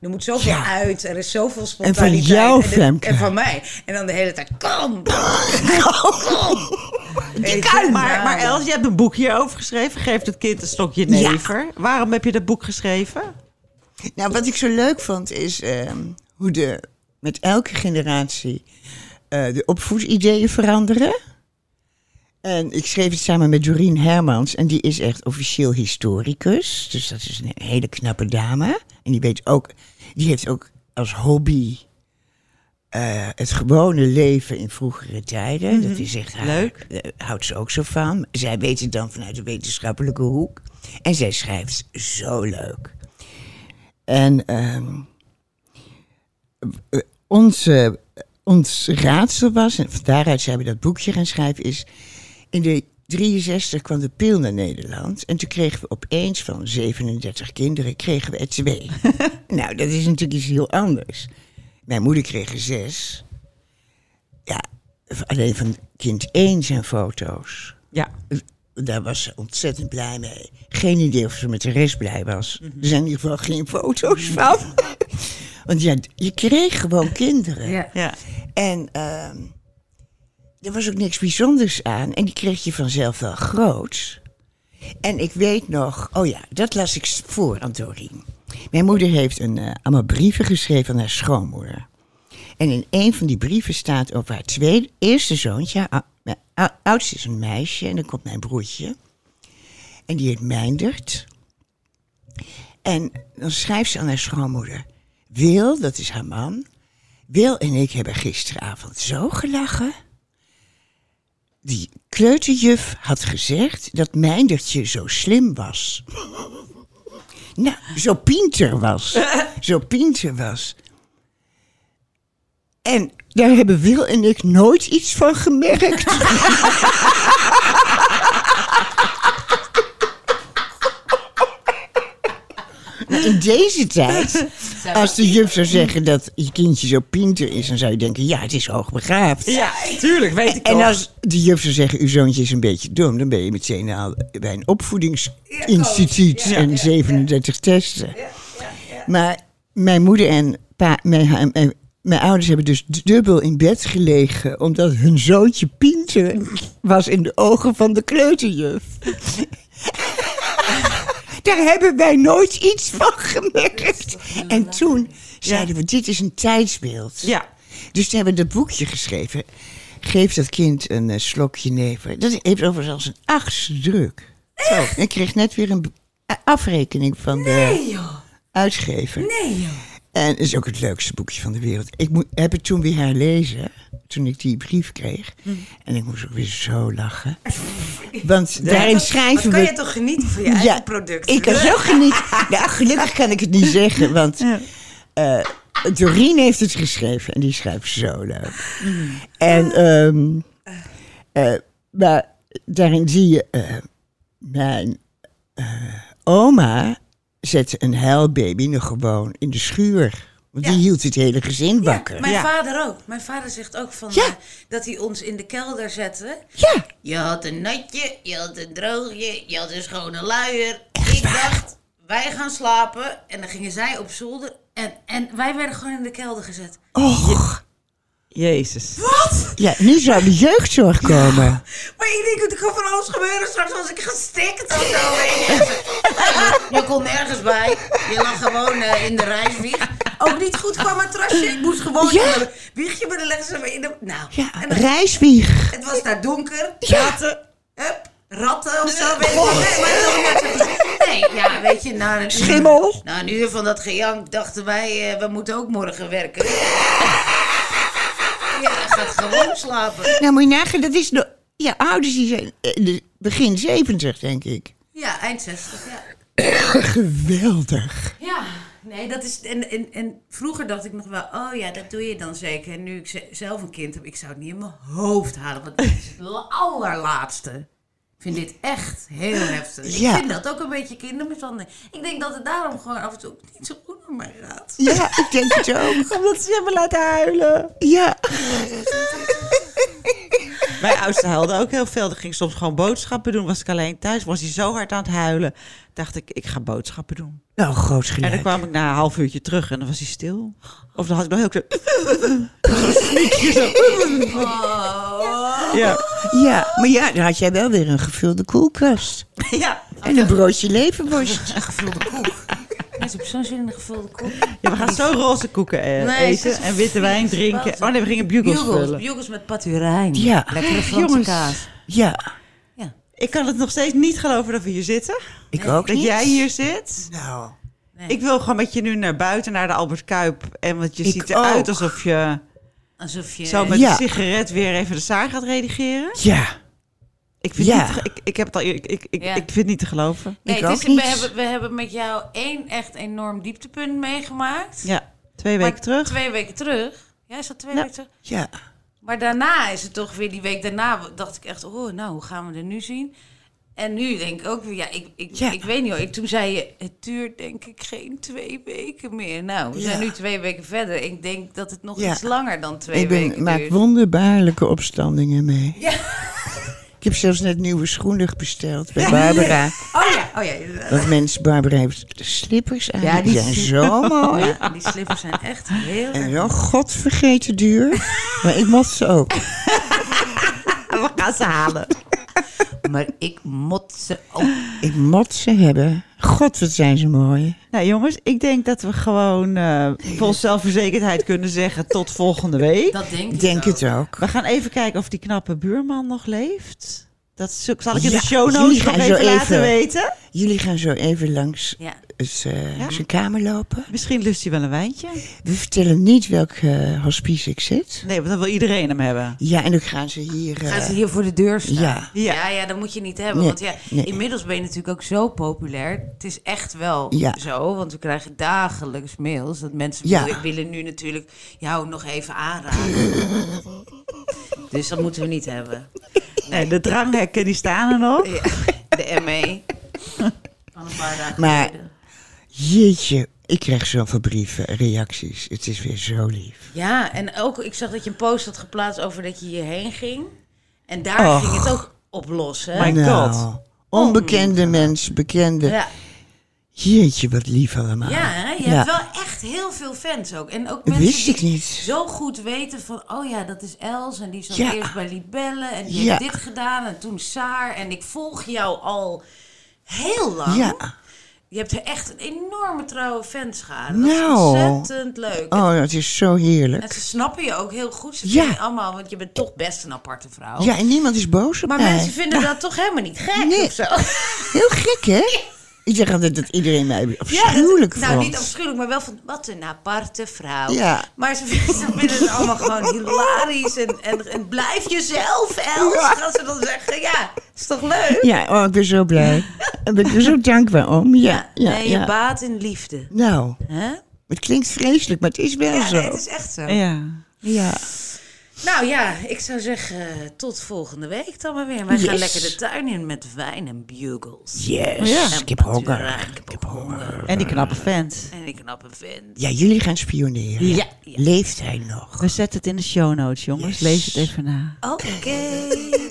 S2: Er moet zoveel
S6: Ja.
S2: uit, er is zoveel spontaniteit.
S3: jou,
S2: en, dit-
S3: Femke.
S2: En van mij. En dan de hele tijd, kom! Oh. Die
S4: Maar, maar Els, je hebt een boek hierover geschreven. Geef het kind een stokje never. Waarom heb je dat boek geschreven?
S3: Nou, wat ik zo leuk vond is ehm, hoe de, met elke generatie eh, de opvoedideeën veranderen. En ik schreef het samen met Jorien Hermans. En die is echt officieel historicus. Dus dat is een hele knappe dame. En die weet ook, die heeft ook als hobby eh, het gewone leven in vroegere tijden. Dat is echt haar,
S4: Leuk.
S3: eh, houdt ze ook zo van. Zij weet het dan vanuit de wetenschappelijke hoek. En zij schrijft zo leuk. En ehm, eh, onze, ons raadsel was, en van daaruit zijn we dat boekje gaan schrijven, is in de 63 kwam de pil naar Nederland. En toen kregen we opeens van 37 kinderen, kregen we er twee. nou, dat is natuurlijk iets heel anders. Mijn moeder kreeg er zes. Ja, alleen van kind één zijn foto's
S4: Ja.
S3: daar was ze ontzettend blij mee. Geen idee of ze met de rest blij was. Er zijn in ieder geval geen foto's van. Want ja, je kreeg gewoon kinderen.
S4: ja.
S3: En ehm, er was ook niks bijzonders aan. En die kreeg je vanzelf wel groot. En ik weet nog, oh ja, dat las ik s- voor aan Dorien. Mijn moeder heeft een, eh, allemaal brieven geschreven aan haar schoonmoeder. En in een van die brieven staat over haar tweede, eerste zoontje. haar ou- mijn ou- oudste is een meisje en dan komt mijn broertje. En die heet Meindert. En dan schrijft ze aan haar schoonmoeder. Wil, dat is haar man, Wil en ik hebben gisteravond zo gelachen. Die kleuterjuf had gezegd dat Mijndertje zo slim was. nou, zo pinter was. zo pinter was. En daar hebben Wil en ik nooit iets van gemerkt. Nou, In deze tijd, als de juf zou zeggen dat je kindje zo pinter is, dan zou je denken, ja, het is hoogbegaafd.
S4: Ja, tuurlijk, weet ik
S3: En
S4: toch.
S3: als de juf zou zeggen, uw zoontje is een beetje dom, dan ben je meteen al bij een opvoedingsinstituut en 37 testen. Maar mijn moeder en pa, mijn, mijn, mijn, mijn ouders hebben dus dubbel in bed gelegen, omdat hun zoontje Pienter was in de ogen van de kleuterjuf. Daar hebben wij nooit iets van gemerkt. En toen zeiden we, dit is een tijdsbeeld.
S4: Ja.
S3: Dus ze hebben dat boekje geschreven. Geef dat kind een eh, slokje never. Dat heeft overigens zelfs een achtste druk. Zo. Ik kreeg net weer een b- a- afrekening van de uitgever. Nee En het is ook het leukste boekje van de wereld. Ik moet, heb het toen weer herlezen, toen ik die brief kreeg.
S2: Mm.
S3: En ik moest ook weer zo lachen. Want daarin schrijven
S2: Wat kan
S3: we...
S2: je toch genieten van je eigen product?
S3: Ik kan zo genieten. Nou, gelukkig kan ik het niet zeggen, want eh, Doreen heeft het geschreven en die schrijft zo leuk. En, ehm, eh, maar daarin zie je, eh, mijn eh, oma zette een huilbaby nog gewoon in de schuur. Want die hield het hele gezin wakker.
S2: Mijn
S4: Ja.
S2: vader ook. Mijn vader zegt ook van, eh, dat hij ons in de kelder zette.
S3: Ja.
S2: Je had een natje, je had een droogje, je had een schone luier. Ik dacht, wij gaan slapen. En dan gingen zij op zolder. En, en wij werden gewoon in de kelder gezet.
S3: Och,
S4: Jezus.
S3: ja, nu zou de jeugdzorg komen.
S2: Maar ik denk, dat er kan van alles gebeuren straks als ik gestikt of zo. weet je. je kon nergens bij. Je lag gewoon eh, in de reiswieg. Ook niet goed qua matrasje. Ik moest gewoon
S3: Ja.
S2: in een wiegje maar dan leggen ze me in de... Nou,
S3: Ja,
S2: en dan-
S3: reiswieg.
S2: het was daar donker. Ratten. Hup, ratten of zo. Weet ik niet. Nee, maar dat wil ik net zeggen. Nee, ja, weet je, nou, na een Uur,
S4: Schimmel.
S2: na een uur van dat gejank dachten wij, eh, we moeten ook morgen werken. Ja, gaat gewoon slapen.
S3: Nou, moet je nagaan, dat is nog... Ja, ouders die zijn eh, de- begin 70, denk ik.
S2: Ja, eind 60, ja.
S3: Geweldig.
S2: Ja, nee, dat is. En, en, en vroeger dacht ik nog wel, oh ja, dat doe je dan zeker. En nu ik ze- zelf een kind heb, ik zou het niet in mijn hoofd halen. Want dit is de allerlaatste. Ik vind dit echt heel heftig.
S3: Ja.
S2: Ik vind dat ook een beetje kindermishandeling. Ik denk dat het daarom gewoon af en toe ook niet zo goed over mij gaat.
S3: Ja, ik denk het ook.
S4: Omdat ze hebben laten huilen.
S3: Ja.
S4: Mijn oudste huilde ook heel veel. Die ging soms gewoon boodschappen doen. Was ik alleen thuis, was hij zo hard aan het huilen. Dacht ik, ik ga boodschappen doen.
S3: Nou, groot
S4: En dan
S3: gelijk.
S4: kwam ik na een half uurtje terug en dan was hij stil. Of dan had ik nog heel klein...
S3: Oh.
S4: Ja.
S3: Ja, maar ja, dan had jij wel weer een gevulde koelkast.
S4: Ja.
S3: En een broodje leverworst.
S2: Hij is op zo'n zin in de gevulde kop.
S4: ja, we gaan zo roze koeken eh,
S2: Nee,
S4: eten
S2: ze is
S4: en witte wijn drinken.
S2: verbazen.
S4: Oh nee, we gingen bugles vullen.
S2: Bugels met paturijn.
S3: Ja.
S2: Lekkere Franse
S3: Jongens.
S2: kaas.
S3: Ja,
S4: Ik kan het nog steeds niet geloven dat we hier zitten.
S3: ik ook
S4: Dat
S3: niet.
S4: jij hier zit.
S3: Nou,
S4: Ik wil gewoon met je nu naar buiten, naar de Albert Kuip. En want je
S3: Ik
S4: ziet eruit
S3: ook.
S4: alsof je
S2: Alsof je...
S4: zo met
S3: Ja.
S4: een sigaret weer even de zaar gaat redigeren.
S3: ja.
S4: Ik vind,
S3: Ja.
S4: niet, te- ik, ik heb het al, eer- ik, ik, ik,
S2: Ja.
S4: ik vind het niet te geloven.
S2: Nee,
S3: Ik
S2: het
S3: ook
S2: is-
S3: niet.
S2: We, hebben, we hebben met jou één echt enorm dieptepunt meegemaakt.
S4: Ja, twee
S2: Maar
S4: weken terug.
S2: Twee weken terug. Ja, is dat twee
S4: Ja.
S2: weken terug?
S3: Ja.
S2: Maar daarna is het toch weer die week daarna dacht ik echt, oh, nou, hoe gaan we er nu zien? En nu denk ik ook weer, ja, ik, ik,
S3: Ja.
S2: ik weet niet hoor. Ik- Toen zei je, het duurt denk ik geen twee weken meer. Nou, we
S3: Ja.
S2: zijn nu twee weken verder. Ik denk dat het nog
S3: Ja.
S2: iets langer dan twee
S3: Ik ben,
S2: weken
S3: maak
S2: duurt.
S3: wonderbaarlijke opstandingen mee. Ik heb zelfs net nieuwe schoenen besteld bij Barbara.
S2: Oh ja, oh ja. inderdaad.
S3: Want mensen, Barbara heeft slippers aan.
S2: Ja,
S3: die,
S2: die
S3: zijn
S2: sli-
S3: zo mooi.
S2: Ja, die slippers zijn echt heel
S3: En wel godvergeten duur. Maar ik mocht ze ook.
S4: We gaan ze halen.
S2: Maar ik mot ze ook.
S3: Ik mocht ze hebben. God, wat zijn ze mooi.
S4: Nou jongens, ik denk dat we gewoon eh, vol zelfverzekerdheid kunnen zeggen tot volgende week.
S2: Dat denk
S3: Ik
S2: ik
S3: denk
S2: ook.
S3: het ook.
S4: We gaan even kijken of die knappe buurman nog leeft. Dat zo- zal ik in
S3: Ja,
S4: de show
S3: jullie
S4: notes nog
S3: gaan
S4: even
S3: zo
S4: laten
S3: even.
S4: weten.
S3: Jullie gaan zo even langs
S2: Ja.
S3: het, eh, zijn kamer lopen.
S4: Misschien lust hij wel een wijntje.
S3: We vertellen niet welk eh, hospice ik zit.
S4: Nee, want dan wil iedereen hem hebben.
S3: Ja, en dan gaan ze hier... eh,
S2: Gaan ze hier voor de deur staan?
S3: Ja.
S4: Ja.
S2: Ja, ja, dat moet je niet hebben.
S3: Nee,
S2: want ja,
S3: nee.
S2: inmiddels ben je natuurlijk ook zo populair. Het is echt wel
S3: Ja.
S2: zo, want we krijgen dagelijks mails. Dat mensen
S3: Ja.
S2: willen, willen nu natuurlijk jou nog even aanraken. dus dat moeten we niet hebben.
S4: En de dranghekken die staan er nog.
S2: Ja, De E. ME. Van een paar dagen
S3: Maar-
S2: geleden.
S3: Jeetje, ik krijg zoveel brieven en reacties. Het is weer zo lief.
S2: Ja, en ook, ik zag dat je een post had geplaatst over dat je hierheen ging. En daar
S3: Och.
S2: ging het ook oplossen.
S4: Mijn
S3: nou,
S4: god.
S3: Onbekende mensen, bekende.
S2: Oh ja.
S3: Jeetje, wat lief allemaal.
S2: Ja, hè? je hebt wel echt heel veel fans ook. En ook
S3: Ah. Dat
S2: mensen
S3: wist
S2: die
S3: ik niet.
S2: zo goed weten van... oh ja, dat is Els en die zat
S3: Ja.
S2: eerst bij Libelle... en die
S3: Ja.
S2: heeft dit gedaan en toen Saar. En ik volg jou al heel lang.
S3: Ja.
S2: Je hebt er echt een enorme trouwe fanschade. Dat
S3: Nou.
S2: is ontzettend leuk.
S3: Oh, dat is zo heerlijk.
S2: En ze snappen je ook heel goed. Ze
S3: Ja.
S2: vinden je allemaal, want je bent toch best een aparte vrouw.
S3: Ja, en niemand is boos op
S2: Maar
S3: mij.
S2: mensen vinden dat toch helemaal niet gek
S3: Nee.
S2: of zo.
S3: Heel gek, hè? Ik zeg altijd dat iedereen mij afschuwelijk
S2: Ja, dat- nou,
S3: vond.
S2: niet afschuwelijk, maar wel van wat een aparte vrouw.
S3: Ja.
S2: Maar ze vinden, ze vinden het allemaal gewoon hilarisch. En, en, en blijf jezelf, Els. Gaan ze dan zeggen, ja, is toch leuk?
S3: Ja, oh, ik ben zo blij. En ben ik er zo dankbaar om. Ja, ja,
S2: nee,
S3: ja.
S2: je baat in liefde.
S3: Nou,
S2: hè?
S3: het klinkt vreselijk, maar het is wel
S2: Ja,
S3: zo.
S2: nee, het is echt zo.
S4: Ja.
S3: Ja.
S2: Nou ja, ik zou zeggen tot volgende week dan maar weer. Wij gaan
S3: Yes.
S2: lekker de tuin in met wijn en bugles.
S3: Yes,
S4: Ja.
S3: ik heb honger.
S2: Paturijn, Ik heb ook honger.
S4: En die knappe vent.
S2: En ik knap een vent.
S3: Ja, jullie gaan spioneren.
S2: Ja. ja.
S3: Leeft hij nog?
S4: We zetten het in de show notes, jongens.
S3: Yes.
S4: Lees het even na.
S2: Oké,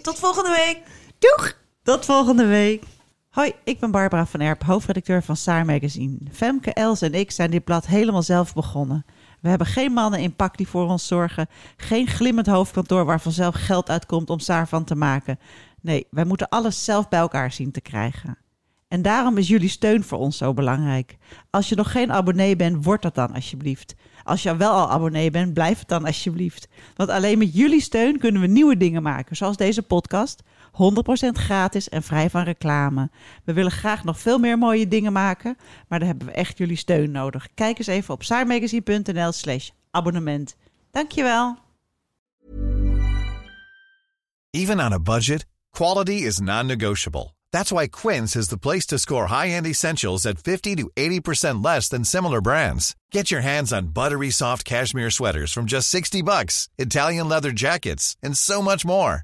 S2: tot volgende week.
S3: Doeg!
S4: Tot volgende week. Hoi, ik ben Barbara van Erp, hoofdredacteur van Saar Magazine. Femke, Els en ik zijn dit blad helemaal zelf begonnen. We hebben geen mannen in pak die voor ons zorgen. Geen glimmend hoofdkantoor waar vanzelf geld uitkomt om Saar van te maken. Nee, wij moeten alles zelf bij elkaar zien te krijgen. En daarom is jullie steun voor ons zo belangrijk. Als je nog geen abonnee bent, word dat dan alsjeblieft. Als je wel al abonnee bent, blijf het dan alsjeblieft. Want alleen met jullie steun kunnen we nieuwe dingen maken, zoals deze podcast. 100% gratis en vrij van reclame. We willen graag nog veel meer mooie dingen maken, maar daar hebben we echt jullie steun nodig. Kijk eens even op saarmagazine.nl slash abonnement. Dankjewel.
S6: Even on a budget, quality is non-negotiable. That's why Quince is the place to score high-end essentials at 50 to 80% less than similar brands. Get your hands on buttery soft cashmere sweaters from just 60 bucks, Italian leather jackets, and so much more.